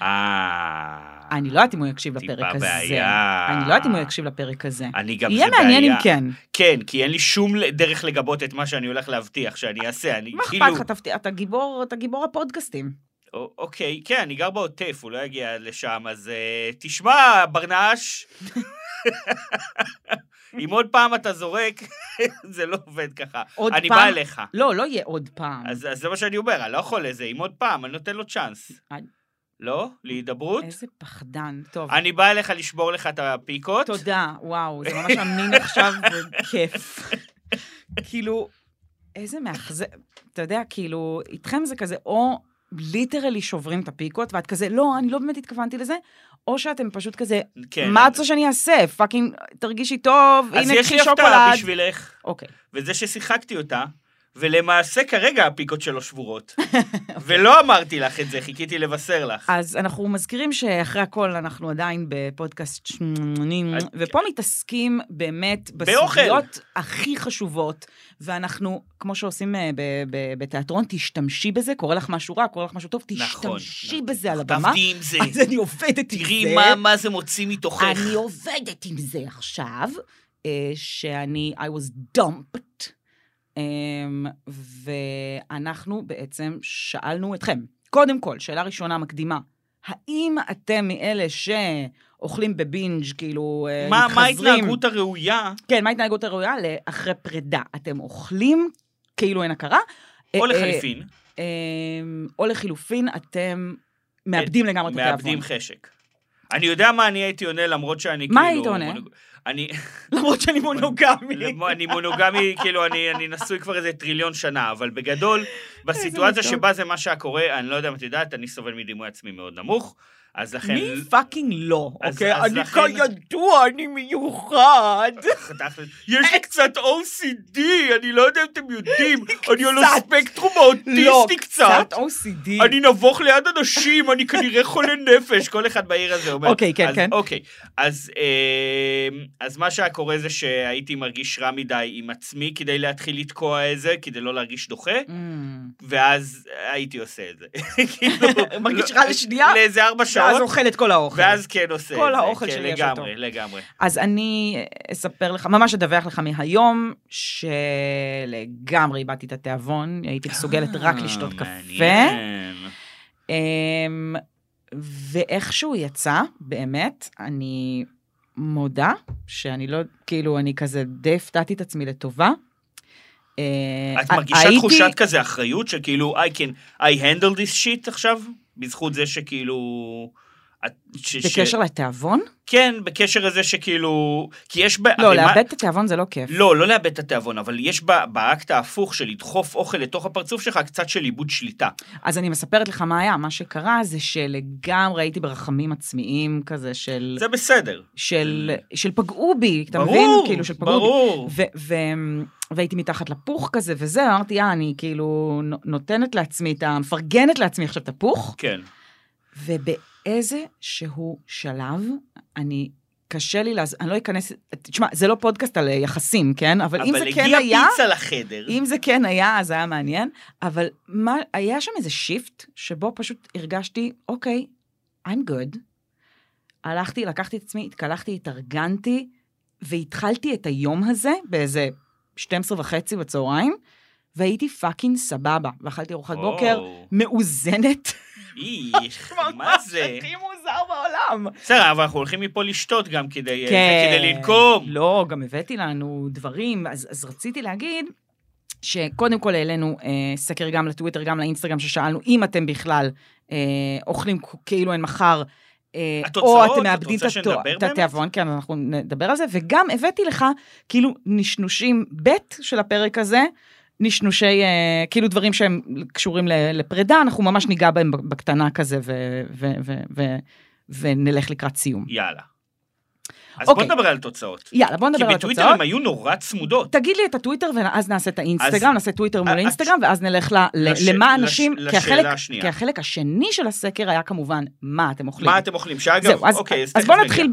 [SPEAKER 2] אה...
[SPEAKER 1] אני לא יודעת אם הוא יקשיב
[SPEAKER 2] טיפה
[SPEAKER 1] לפרק הזה.
[SPEAKER 2] בעיה.
[SPEAKER 1] אני לא יודעת אם הוא יקשיב לפרק הזה.
[SPEAKER 2] אני גם,
[SPEAKER 1] יהיה
[SPEAKER 2] זה
[SPEAKER 1] מעניין אם
[SPEAKER 2] בעיה.
[SPEAKER 1] כן.
[SPEAKER 2] כן, כי אין לי שום ל- דרך לגבות את מה שאני הולך להבטיח שאני אעשה, אני
[SPEAKER 1] מה
[SPEAKER 2] כאילו...
[SPEAKER 1] אכפת לך, תפתיע, אתה גיבור, אתה גיבור הפודקאסטים.
[SPEAKER 2] א- אוקיי, כן, אני גר בעוטף, הוא לא יגיע לשם, אז אה, תשמע, ברנש, אם עוד פעם אתה זורק, זה לא עובד ככה.
[SPEAKER 1] עוד
[SPEAKER 2] אני
[SPEAKER 1] פעם?
[SPEAKER 2] בא אליך.
[SPEAKER 1] לא, לא יהיה עוד פעם.
[SPEAKER 2] אז, אז זה מה שאני אומר, אני לא יכול לזה, אם עוד פעם, אני נותן לו צ'אנס.
[SPEAKER 1] אני-
[SPEAKER 2] לא? להידברות?
[SPEAKER 1] איזה פחדן. טוב,
[SPEAKER 2] אני בא אליך לשבור לך את הפיקות.
[SPEAKER 1] תודה, וואו, זה ממש אמין עכשיו, וכיף. כאילו, איזה מאכזב, אתה יודע, כאילו, איתכם זה כזה, או ליטרלי שוברים את הפיקות, ואת כזה, לא, אני לא באמת התכוונתי לזה, או שאתם פשוט כזה,
[SPEAKER 2] כן.
[SPEAKER 1] מה את רוצה שאני אעשה? פאקינג, תרגישי טוב,
[SPEAKER 2] אז
[SPEAKER 1] הנה,
[SPEAKER 2] יש לי
[SPEAKER 1] קחי
[SPEAKER 2] הפתעה
[SPEAKER 1] שוקולד.
[SPEAKER 2] בשבילך,
[SPEAKER 1] אוקיי.
[SPEAKER 2] וזה ששיחקתי אותה, ולמעשה כרגע הפיקות שלו שבורות.
[SPEAKER 1] אוקיי.
[SPEAKER 2] ולא אמרתי לך את זה, חיכיתי לבשר לך.
[SPEAKER 1] אז אנחנו מזכירים שאחרי הכל אנחנו עדיין בפודקאסט שמונים,
[SPEAKER 2] אז-
[SPEAKER 1] ופה מתעסקים באמת
[SPEAKER 2] באוכל.
[SPEAKER 1] בסוגיות הכי חשובות, ואנחנו, כמו שעושים אה, ב- ב- בתיאטרון, תשתמשי בזה, קורה לך משהו רע, קורה לך משהו טוב,
[SPEAKER 2] נכון,
[SPEAKER 1] תשתמשי
[SPEAKER 2] נכון.
[SPEAKER 1] בזה על הבמה.
[SPEAKER 2] תעבדי עם זה,
[SPEAKER 1] אז אני עובדת עם זה.
[SPEAKER 2] תראי מה- מה זה מוציא מתוכך.
[SPEAKER 1] אני עובדת עם זה עכשיו, אה, שאני, I was dumped, אמ, ואנחנו בעצם שאלנו אתכם, קודם כל, שאלה ראשונה מקדימה, האם אתם מאלה שאוכלים בבינג', כאילו, אה,
[SPEAKER 2] מה מה
[SPEAKER 1] מתחזרים?
[SPEAKER 2] ההתנהגות הראויה,
[SPEAKER 1] כן, מה ההתנהגות הראויה לאחרי פרידה? אתם אוכלים כאילו אין הכרה?
[SPEAKER 2] או
[SPEAKER 1] אה, אה,
[SPEAKER 2] לחליפין,
[SPEAKER 1] אמ, או לחילופין, אתם מאבדים לגמרי את התיאבון.
[SPEAKER 2] כן, מאבדים חשק. אני יודע מה אני הייתי עונה, למרות שאני כאילו...
[SPEAKER 1] מה היית עונה?
[SPEAKER 2] מונוג- אני...
[SPEAKER 1] למרות שאני
[SPEAKER 2] נכון.
[SPEAKER 1] מונוגמי.
[SPEAKER 2] למ- אני מונוגמי, כאילו, אני, אני נשוי כבר איזה טריליון שנה, אבל בגדול, בסיטואציה
[SPEAKER 1] מתוק.
[SPEAKER 2] שבה זה מה שהיה קורה, אני לא יודע אם את יודעת, אני סובל מדימוי עצמי מאוד נמוך, אז לכן...
[SPEAKER 1] מי פאקינג לא,
[SPEAKER 2] אז-
[SPEAKER 1] אוקיי?
[SPEAKER 2] אז
[SPEAKER 1] אני
[SPEAKER 2] לכן-
[SPEAKER 1] כידוע, אני מיוחד.
[SPEAKER 2] תכל'ס, יש לי קצת OCD, אני לא יודע אם אתם יודעים, אני על
[SPEAKER 1] קצת. לא,
[SPEAKER 2] הספקטרום האוטיסטי קצת.
[SPEAKER 1] OCD.
[SPEAKER 2] אני נבוך ליד אנשים, אני כנראה חולה נפש, כל אחד בעיר הזה אומר.
[SPEAKER 1] אוקיי, כן,
[SPEAKER 2] אז-
[SPEAKER 1] כן.
[SPEAKER 2] אוקיי, אז, אמ, אז מה שהיה קורה זה שהייתי מרגיש רע מדי עם עצמי כדי להתחיל לתקוע את זה, כדי לא להרגיש דוחה,
[SPEAKER 1] Mm.
[SPEAKER 2] ואז הייתי עושה את זה. כאילו,
[SPEAKER 1] מרגיש
[SPEAKER 2] לא-
[SPEAKER 1] רע לשנייה?
[SPEAKER 2] לאיזה ארבע
[SPEAKER 1] ואז
[SPEAKER 2] שעות,
[SPEAKER 1] אוכל את כל האוכל.
[SPEAKER 2] ואז כן עושה את זה.
[SPEAKER 1] כל האוכל
[SPEAKER 2] כן,
[SPEAKER 1] שלי יש
[SPEAKER 2] לגמרי, לגמרי.
[SPEAKER 1] אז אני אספר לך, ממש אדווח לך מהיום, שלגמרי איבדתי את התיאבון, הייתי מסוגלת רק
[SPEAKER 2] אה,
[SPEAKER 1] לשתות קפה.
[SPEAKER 7] מעניין.
[SPEAKER 1] אמ, ואיכשהו יצא, באמת, אני מודה שאני לא, כאילו, אני כזה די הפתעתי את עצמי לטובה. אה,
[SPEAKER 2] את
[SPEAKER 1] ה-
[SPEAKER 2] מרגישה
[SPEAKER 1] הייתי-
[SPEAKER 2] תחושת כזה אחריות שכאילו I can, I handle this shit עכשיו? בזכות זה שכאילו... את- ש- ש-
[SPEAKER 1] בקשר לתיאבון?
[SPEAKER 2] כן, בקשר לזה שכאילו... כי יש ב...
[SPEAKER 1] לא,
[SPEAKER 2] הרי מה-
[SPEAKER 1] לאבד את התיאבון זה לא כיף.
[SPEAKER 2] לא, לא לאבד את התיאבון, אבל יש ב- באקט ההפוך של לדחוף אוכל לתוך הפרצוף שלך קצת של איבוד שליטה.
[SPEAKER 1] אז אני מספרת לך מה היה, מה שקרה זה שלגמרי הייתי ברחמים עצמיים כזה של...
[SPEAKER 2] זה בסדר.
[SPEAKER 1] של, של פגעו בי, אתה
[SPEAKER 2] ברור,
[SPEAKER 1] מבין? כאילו, של פגעו
[SPEAKER 2] ברור.
[SPEAKER 1] בי. ו, ו, והייתי מתחת לפוך כזה וזה, אמרתי, אה, אני כאילו נו- נותנת לעצמי את ה... מפרגנת לעצמי עכשיו את הפוך,
[SPEAKER 2] כן.
[SPEAKER 1] ובאיזה שהוא שלב, אני... קשה לי, להז... אני לא אכנס, תשמע, זה לא פודקאסט על אה, יחסים, כן? אבל, אבל אם זה כן
[SPEAKER 2] אבל
[SPEAKER 1] היה,
[SPEAKER 2] הגיעה פיצה לחדר.
[SPEAKER 1] אם זה כן היה, אז היה מעניין, אבל מה, היה שם איזה שיפט, שבו פשוט הרגשתי, אוקיי, I'm good. הלכתי, לקחתי את עצמי, התקלחתי, התארגנתי, והתחלתי את היום הזה באיזה 12 וחצי בצהריים, והייתי פאקינג סבבה, ואכלתי ארוחת בוקר
[SPEAKER 2] וואו.
[SPEAKER 1] מאוזנת.
[SPEAKER 2] איך, מה זה?
[SPEAKER 1] הכי מוזר בעולם.
[SPEAKER 2] בסדר, אבל אנחנו הולכים מפה לשתות גם כדי אה,
[SPEAKER 1] כן.
[SPEAKER 2] כדי לנקום.
[SPEAKER 1] לא, גם הבאתי לנו דברים, אז, אז רציתי להגיד שקודם כל העלינו אה, סקר גם לטוויטר, גם לאינסטגרם, ששאלנו אם אתם בכלל אה, אוכלים כ- כאילו אין מחר. אה,
[SPEAKER 2] התוצאות,
[SPEAKER 1] או אתם
[SPEAKER 2] את
[SPEAKER 1] מאבדים
[SPEAKER 2] רוצה
[SPEAKER 1] את התו-
[SPEAKER 2] שנדבר
[SPEAKER 1] את
[SPEAKER 2] באמת?
[SPEAKER 1] התיאבון, כן, אנחנו נדבר על זה, וגם הבאתי לך כאילו נשנושים ב' של הפרק הזה, נשנושי, אה, כאילו דברים שהם קשורים ל- לפרידה, אנחנו ממש ניגע בהם בקטנה כזה, ו- ו- ו- ו- ונלך לקראת סיום.
[SPEAKER 2] יאללה. אז בוא
[SPEAKER 1] אוקיי.
[SPEAKER 2] נדבר על התוצאות.
[SPEAKER 1] יאללה, בוא
[SPEAKER 2] כי
[SPEAKER 1] נדבר על התוצאות.
[SPEAKER 2] בטוויטר הם היו נורא צמודות.
[SPEAKER 1] תגיד לי את הטוויטר ואז נעשה את האינסטגרם,
[SPEAKER 2] אז-
[SPEAKER 1] נעשה טוויטר
[SPEAKER 2] אה,
[SPEAKER 1] מול אינסטגרם, ואז נלך ל- ל-
[SPEAKER 2] לש-
[SPEAKER 1] למה
[SPEAKER 2] לש-
[SPEAKER 1] אנשים, כי
[SPEAKER 2] לשאלה
[SPEAKER 1] החלק-
[SPEAKER 2] השנייה.
[SPEAKER 1] כי החלק השני של הסקר היה כמובן, מה אתם אוכלים.
[SPEAKER 2] מה אתם אוכלים? שאגב,
[SPEAKER 1] זהו, אז-
[SPEAKER 2] אוקיי, אז
[SPEAKER 1] אז
[SPEAKER 2] תכף
[SPEAKER 1] בוא
[SPEAKER 2] נגיע.
[SPEAKER 1] נתחיל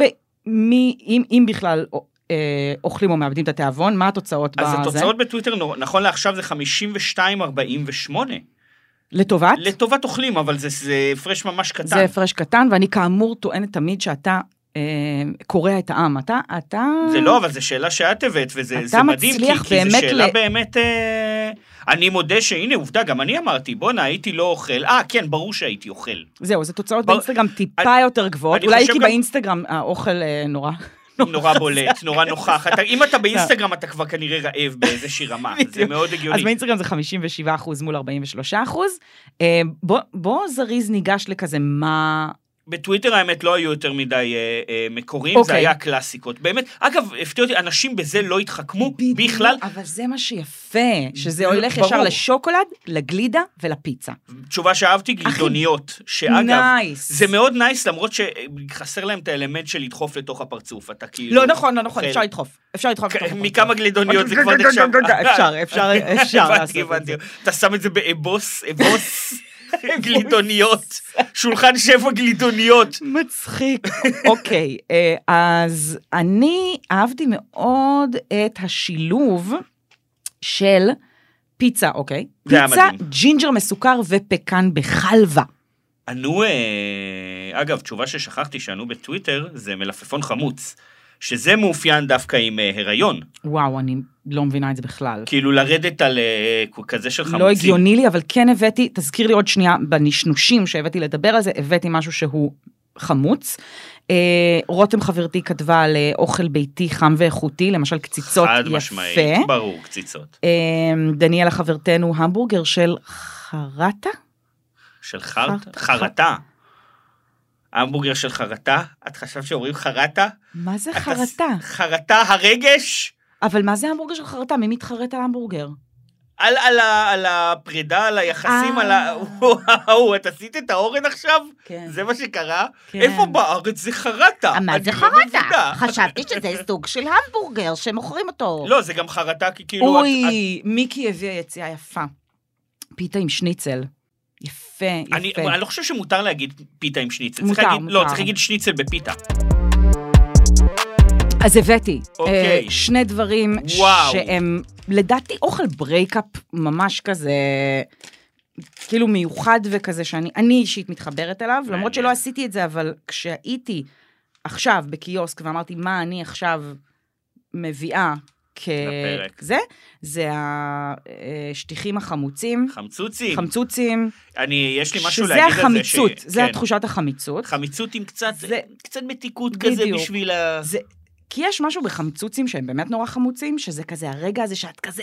[SPEAKER 1] במי, אם אם בכלל אה, אוכלים או מאבדים את התיאבון, מה התוצאות
[SPEAKER 2] אז
[SPEAKER 1] בזה?
[SPEAKER 2] התוצאות בטוויטר, נור- נכון לעכשיו זה 52-48.
[SPEAKER 1] לטובת?
[SPEAKER 2] לטובת אוכלים, אבל זה- זה הפרש ממש קטן.
[SPEAKER 1] זה הפרש קטן, ואני כאמור טוענת תמיד שאתה אה, קורע את העם. אתה, אתה...
[SPEAKER 2] זה לא, אבל זו שאלה שאת הבאת, וזה
[SPEAKER 1] אתה
[SPEAKER 2] זה מדהים, כי,
[SPEAKER 1] מצליח
[SPEAKER 2] כי זו
[SPEAKER 1] באמת
[SPEAKER 2] שאלה
[SPEAKER 1] ל-
[SPEAKER 2] באמת... אה, אני מודה שהנה, עובדה, גם אני אמרתי, בואנה, הייתי לא אוכל. אה, כן, ברור שהייתי אוכל.
[SPEAKER 1] זהו, זה תוצאות
[SPEAKER 2] בר-
[SPEAKER 1] באינסטגרם טיפה יותר גבוהות.
[SPEAKER 2] אני
[SPEAKER 1] אולי
[SPEAKER 2] חושב
[SPEAKER 1] כי
[SPEAKER 2] גם-
[SPEAKER 1] באינסטגרם האוכל אה, נורא
[SPEAKER 2] נורא בולט, נורא נוכח. אתה- אם אתה באינסטגרם, אתה כבר כנראה רעב באיזושהי רמה. זה
[SPEAKER 1] לא. בדיוק.
[SPEAKER 2] מאוד
[SPEAKER 1] אז
[SPEAKER 2] הגיוני.
[SPEAKER 1] באינסטגרם זה 57 אחוז מול 43 אחוז. אה, בוא, בוא זריז ניגש לכזה מה...
[SPEAKER 2] בטוויטר האמת לא היו יותר מדי אה, אה, מקורים, זה
[SPEAKER 1] אוקיי.
[SPEAKER 2] היה קלאסיקות. באמת, אגב, הפתיע אותי, אנשים בזה לא התחכמו בכלל.
[SPEAKER 1] אבל זה מה שיפה, שזה
[SPEAKER 2] ברור.
[SPEAKER 1] הולך ישר לשוקולד, לגלידה ולפיצה.
[SPEAKER 2] תשובה שאהבתי, גלידוניות, שאגב,
[SPEAKER 1] נייס.
[SPEAKER 2] זה מאוד נייס, למרות שחסר להם את האלמנט של לדחוף לתוך הפרצוף, אתה כאילו...
[SPEAKER 1] לא נכון, לא נכון,
[SPEAKER 2] אוכל.
[SPEAKER 1] אפשר לדחוף. אפשר לדחוף.
[SPEAKER 2] כ-
[SPEAKER 1] אפשר לדחוף.
[SPEAKER 2] כן, מכמה גלידוניות זה כבר
[SPEAKER 1] אפשר,
[SPEAKER 2] נחשב.
[SPEAKER 1] אפשר, אפשר, אפשר לעשות
[SPEAKER 2] הבנתי,
[SPEAKER 1] את
[SPEAKER 2] הבנתי.
[SPEAKER 1] זה.
[SPEAKER 2] אתה שם את זה באבוס, אבוס, גלידוניות, שולחן שבע גלידוניות.
[SPEAKER 1] מצחיק. אוקיי, אה, אז אני אהבתי מאוד את השילוב של פיצה, אוקיי?
[SPEAKER 2] זה היה
[SPEAKER 1] פיצה,
[SPEAKER 2] מדהים.
[SPEAKER 1] ג'ינג'ר מסוכר ופקן בחלבה.
[SPEAKER 2] ענו, אה, אגב, תשובה ששכחתי שענו בטוויטר, זה מלפפון חמוץ. שזה מאופיין דווקא עם אה, הריון,
[SPEAKER 1] וואו, אני לא מבינה את זה בכלל.
[SPEAKER 2] כאילו לרדת על אה, כזה של חמוצים.
[SPEAKER 1] לא הגיוני לי, אבל כן הבאתי, תזכיר לי עוד שנייה, בנשנושים שהבאתי לדבר על זה, הבאתי משהו שהוא חמוץ. אה, רותם חברתי כתבה על אה, אוכל ביתי חם ואיכותי, למשל קציצות
[SPEAKER 2] חד
[SPEAKER 1] יפה.
[SPEAKER 2] משמעית, ברור, קציצות.
[SPEAKER 1] אה, דניאלה חברתנו, המבורגר של חרטה?
[SPEAKER 2] של חרטה?
[SPEAKER 1] חרטה.
[SPEAKER 2] חרטה. המבורגר של חרטה? את חשבת שאומרים חרטה?
[SPEAKER 1] מה זה
[SPEAKER 2] אתה-
[SPEAKER 1] חרטה?
[SPEAKER 2] חרטה הרגש?
[SPEAKER 1] אבל מה זה המבורגר של חרטה? מי מתחרט על המבורגר?
[SPEAKER 2] על, על, ה- על הפרידה, על היחסים,
[SPEAKER 1] אה.
[SPEAKER 2] על ה... וואו, את עשית את האורן עכשיו?
[SPEAKER 1] כן.
[SPEAKER 2] זה מה שקרה?
[SPEAKER 1] כן. אה,
[SPEAKER 2] איפה בארץ זה חרטה?
[SPEAKER 8] מה
[SPEAKER 2] את
[SPEAKER 8] זה
[SPEAKER 2] לא
[SPEAKER 8] חרטה?
[SPEAKER 2] מבינה.
[SPEAKER 8] חשבתי שזה סוג של המבורגר שמוכרים אותו.
[SPEAKER 2] לא, זה גם חרטה, כי כאילו... את-
[SPEAKER 1] אוי, מיקי הביאה יציאה יפה. פיתה עם שניצל. יפה,
[SPEAKER 2] את- אני,
[SPEAKER 1] יפה.
[SPEAKER 2] אני לא חושב שמותר להגיד פיתה עם שניצל.
[SPEAKER 1] מותר,
[SPEAKER 2] צריך להגיד, לא,
[SPEAKER 1] מותר.
[SPEAKER 2] צריך להגיד שניצל בפיתה.
[SPEAKER 1] אז הבאתי
[SPEAKER 2] אוקיי.
[SPEAKER 1] אה, שני דברים
[SPEAKER 2] וואו.
[SPEAKER 1] שהם לדעתי אוכל ברייקאפ ממש כזה, כאילו מיוחד וכזה שאני אני אישית מתחברת אליו, למרות שלא עשיתי את זה, אבל כשהייתי עכשיו בקיוסק ואמרתי מה אני עכשיו מביאה
[SPEAKER 2] לפרק.
[SPEAKER 1] כזה, זה השטיחים החמוצים,
[SPEAKER 2] חמצוצים.
[SPEAKER 1] חמצוצים,
[SPEAKER 2] אני, יש לי משהו
[SPEAKER 1] שזה
[SPEAKER 2] להגיד על זה.
[SPEAKER 1] החמיצות,
[SPEAKER 2] ש-
[SPEAKER 1] זה
[SPEAKER 2] כן.
[SPEAKER 1] התחושת החמיצות.
[SPEAKER 2] חמיצות עם קצת,
[SPEAKER 1] זה-
[SPEAKER 2] קצת מתיקות כזה
[SPEAKER 1] בדיוק.
[SPEAKER 2] בשביל ה...
[SPEAKER 1] זה, כי יש משהו בחמצוצים שהם באמת נורא חמוצים, שזה כזה הרגע הזה שאת כזה,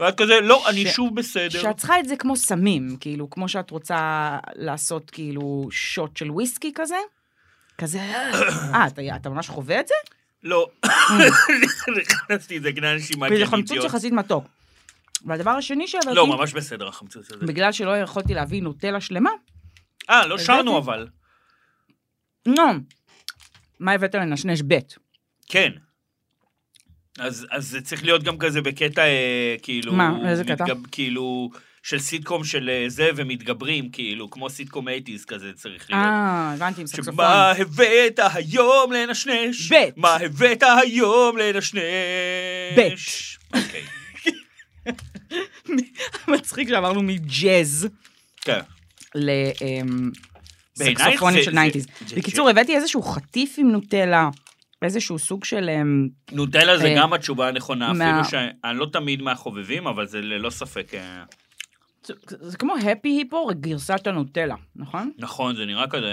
[SPEAKER 2] ואת כזה, לא, אני
[SPEAKER 1] ש-
[SPEAKER 2] שוב בסדר.
[SPEAKER 1] שאת צריכה את זה כמו סמים, כאילו, כמו שאת רוצה לעשות כאילו שוט של וויסקי כזה, כזה, אה, אתה, אתה ממש חווה את זה?
[SPEAKER 2] לא. נכנסתי את זה כנראה נשימה
[SPEAKER 1] וזה חמצוץ
[SPEAKER 2] קרדיטיות.
[SPEAKER 1] יחסית מתוק. והדבר השני שהבאתי,
[SPEAKER 2] לא, ממש בסדר החמצוץ הזה.
[SPEAKER 1] בגלל שלא יכולתי להביא נוטלה שלמה,
[SPEAKER 2] אה, לא שרנו
[SPEAKER 1] הבאתי.
[SPEAKER 2] אבל.
[SPEAKER 1] נו, מה הבאת לנשנש ב'?
[SPEAKER 2] כן. אז אז זה צריך להיות גם כזה בקטע, אה, כאילו...
[SPEAKER 1] מה? איזה קטע?
[SPEAKER 2] מתגב- כאילו, של סיטקום של אה, זה, ומתגברים, כאילו, כמו סיטקום 80's כזה צריך להיות.
[SPEAKER 1] אה, הבנתי, עם סקסופון.
[SPEAKER 2] שמה הבאת היום לנשנש?
[SPEAKER 1] בית.
[SPEAKER 2] מה הבאת היום לנשנש?
[SPEAKER 1] בית.
[SPEAKER 2] אוקיי,
[SPEAKER 1] מצחיק שעברנו מג'אז.
[SPEAKER 2] כן.
[SPEAKER 1] לסקסופונים
[SPEAKER 2] זה-
[SPEAKER 1] אמ, של
[SPEAKER 2] זה-
[SPEAKER 1] ניינטיז.
[SPEAKER 2] זה-
[SPEAKER 1] בקיצור, הבאתי איזשהו חטיף עם נוטלה, איזשהו סוג של... אמ,
[SPEAKER 2] נוטלה זה
[SPEAKER 1] אה,
[SPEAKER 2] גם התשובה הנכונה,
[SPEAKER 1] מה-
[SPEAKER 2] אפילו שאני לא תמיד מהחובבים, אבל זה ללא ספק... אה,
[SPEAKER 1] זה- זה כמו הפי היפו, רק גרסת הנוטלה, נכון?
[SPEAKER 2] נכון, זה נראה כזה.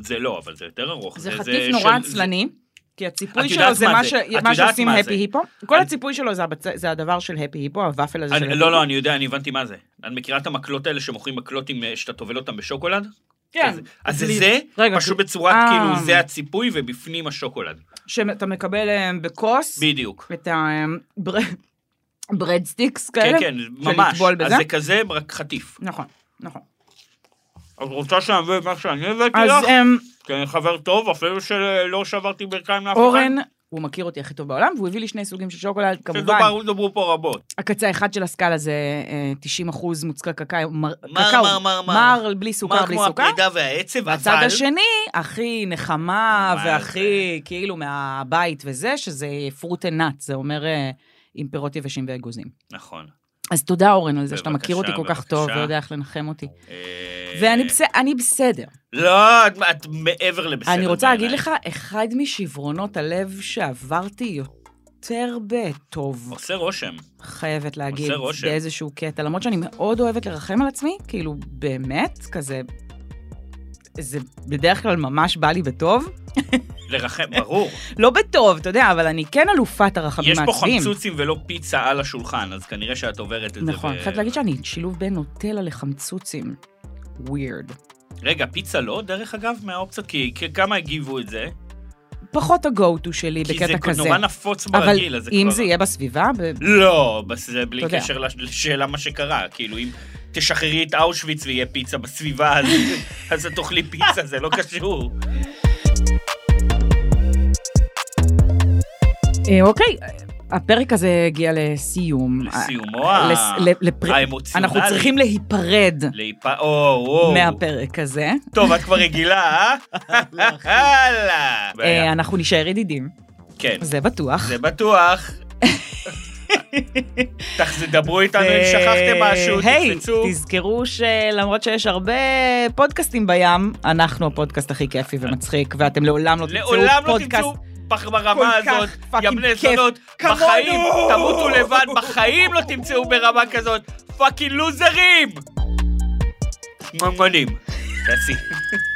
[SPEAKER 2] זה לא, אבל זה יותר ארוך.
[SPEAKER 1] זה חטיף נורא
[SPEAKER 2] של-
[SPEAKER 1] עצלני. כי הציפוי
[SPEAKER 2] את יודעת
[SPEAKER 1] שלו זה
[SPEAKER 2] מה
[SPEAKER 1] מה
[SPEAKER 2] זה.
[SPEAKER 1] ש-
[SPEAKER 2] את
[SPEAKER 1] מה
[SPEAKER 2] יודעת
[SPEAKER 1] שעושים
[SPEAKER 2] מה זה.
[SPEAKER 1] הפי היפו. כל
[SPEAKER 2] אני-
[SPEAKER 1] הציפוי שלו זה הבצ- זה הדבר של הפי היפו, הוואפל הזה של
[SPEAKER 2] אני-
[SPEAKER 1] הפי
[SPEAKER 2] לא,
[SPEAKER 1] היפו.
[SPEAKER 2] לא, אני יודע, אני הבנתי מה זה. את מכירה את המקלות האלה שמוכרים מקלות עם, אה, שאתה טובל אותם בשוקולד?
[SPEAKER 1] כן.
[SPEAKER 2] כזה. אז זה
[SPEAKER 1] לי-
[SPEAKER 2] זה,
[SPEAKER 1] רגע,
[SPEAKER 2] פשוט
[SPEAKER 1] זה-
[SPEAKER 2] בצורת,
[SPEAKER 1] אה.
[SPEAKER 2] כאילו, זה הציפוי ובפנים השוקולד.
[SPEAKER 1] שאתה מקבל אמ, בכוס,
[SPEAKER 2] בדיוק.
[SPEAKER 1] את הברד סטיקס
[SPEAKER 2] כן,
[SPEAKER 1] כאלה.
[SPEAKER 2] כן,
[SPEAKER 1] של
[SPEAKER 2] ממש.
[SPEAKER 1] לטבול
[SPEAKER 2] אז
[SPEAKER 1] בזה.
[SPEAKER 2] זה כזה, רק חטיף.
[SPEAKER 1] נכון, נכון.
[SPEAKER 2] את רוצה שאני אביא מה שאני הבאתי
[SPEAKER 1] אז
[SPEAKER 2] לך?
[SPEAKER 1] אמ,
[SPEAKER 2] כי אני חבר טוב, אפילו שלא שברתי ברכיים לאף אחד.
[SPEAKER 1] אורן, הוא מכיר אותי הכי טוב בעולם, והוא הביא לי שני סוגים של שוקולד,
[SPEAKER 2] לא
[SPEAKER 1] כמובן.
[SPEAKER 2] שדובר- דוברו פה רבות.
[SPEAKER 1] הקצה האחד של הסקאלה זה אה, 90 אחוז מוצקה קקאו, מר,
[SPEAKER 2] מר,
[SPEAKER 1] קקאו,
[SPEAKER 2] מר, מר, מר.
[SPEAKER 1] מר, בלי סוכר, בלי
[SPEAKER 2] כמו
[SPEAKER 1] סוכר.
[SPEAKER 2] הפרידה והעצב,
[SPEAKER 1] והצד
[SPEAKER 2] אבל...
[SPEAKER 1] השני, הכי נחמה
[SPEAKER 2] מה אה.
[SPEAKER 1] והכי כאילו מהבית וזה, שזה פרוט נאט, זה אומר אה, עם פירות יבשים ואגוזים.
[SPEAKER 2] נכון.
[SPEAKER 1] אז תודה, אורן, על זה שאתה
[SPEAKER 2] בבקשה,
[SPEAKER 1] מכיר אותי כל כך
[SPEAKER 2] בבקשה.
[SPEAKER 1] טוב ויודע איך לנחם אותי.
[SPEAKER 2] אה,
[SPEAKER 1] ואני בס... אני בסדר.
[SPEAKER 2] לא, את- את מעבר לבסדר.
[SPEAKER 1] אני רוצה להגיד
[SPEAKER 2] בעיניי.
[SPEAKER 1] לך, אחד משברונות הלב שעברתי יותר בטוב.
[SPEAKER 2] עושה רושם.
[SPEAKER 1] חייבת להגיד,
[SPEAKER 2] עושה רושם.
[SPEAKER 1] באיזשהו קטע, למרות שאני מאוד אוהבת לרחם על עצמי, כאילו, באמת, כזה, זה בדרך כלל ממש בא לי בטוב.
[SPEAKER 2] לרחם, ברור.
[SPEAKER 1] לא בטוב, אתה יודע, אבל אני כן אלופת הרחמים
[SPEAKER 2] יש פה
[SPEAKER 1] העצמיים.
[SPEAKER 2] חמצוצים ולא פיצה על השולחן, אז כנראה שאת עוברת את זה.
[SPEAKER 1] נכון,
[SPEAKER 2] ב-
[SPEAKER 1] חייבת להגיד שאני שילוב בין נוטלה לחמצוצים. ווירד.
[SPEAKER 2] רגע, פיצה לא, דרך אגב, מהאופציות, כי כי כמה הגיבו את זה?
[SPEAKER 1] פחות ה-go-to שלי
[SPEAKER 2] כי זה
[SPEAKER 1] בקטע כזה.
[SPEAKER 2] נורא נפוץ
[SPEAKER 1] אבל
[SPEAKER 2] ברגיל, אז זה כבר...
[SPEAKER 1] אם זה יהיה בסביבה, ב-
[SPEAKER 2] לא, בס- זה בלי
[SPEAKER 1] אתה יודע.
[SPEAKER 2] קשר לש- לשאלה מה שקרה, כאילו אם תשחררי את אושוויץ ויהיה פיצה בסביבה, אז- אז את תאכלי פיצה, זה לא קשור.
[SPEAKER 1] אה, אוקיי, הפרק הזה הגיע לסיום.
[SPEAKER 2] לסיומו
[SPEAKER 1] אה,
[SPEAKER 2] ה-
[SPEAKER 1] לס- ל- לפר-
[SPEAKER 2] האמוציונלי.
[SPEAKER 1] אנחנו צריכים להיפרד
[SPEAKER 2] להיפ... או, וואו.
[SPEAKER 1] מהפרק הזה.
[SPEAKER 2] טוב, את כבר רגילה, אה? הלאה.
[SPEAKER 1] אה, אנחנו נישאר ידידים,
[SPEAKER 2] כן,
[SPEAKER 1] זה בטוח.
[SPEAKER 2] זה בטוח. תח- דברו איתנו אם
[SPEAKER 1] ו-
[SPEAKER 2] שכחתם משהו,
[SPEAKER 1] אה, היי,
[SPEAKER 2] תקפצו.
[SPEAKER 1] תזכרו שלמרות שיש הרבה פודקאסטים בים, אנחנו הפודקאסט הכי כיפי ומצחיק, ואתם לעולם לא תמצאו
[SPEAKER 2] לעולם לא
[SPEAKER 1] פודקאסט
[SPEAKER 2] תמצאו פח- ברמה
[SPEAKER 1] כל כך
[SPEAKER 2] הזאת, יא
[SPEAKER 1] פאקינג
[SPEAKER 2] בני
[SPEAKER 1] כיף.
[SPEAKER 2] זונות,
[SPEAKER 1] כמונו!
[SPEAKER 2] בחיים, תמותו לבד, בחיים לא תמצאו ברמה כזאת, פאקינג לוזרים! מנגונים. תעשי.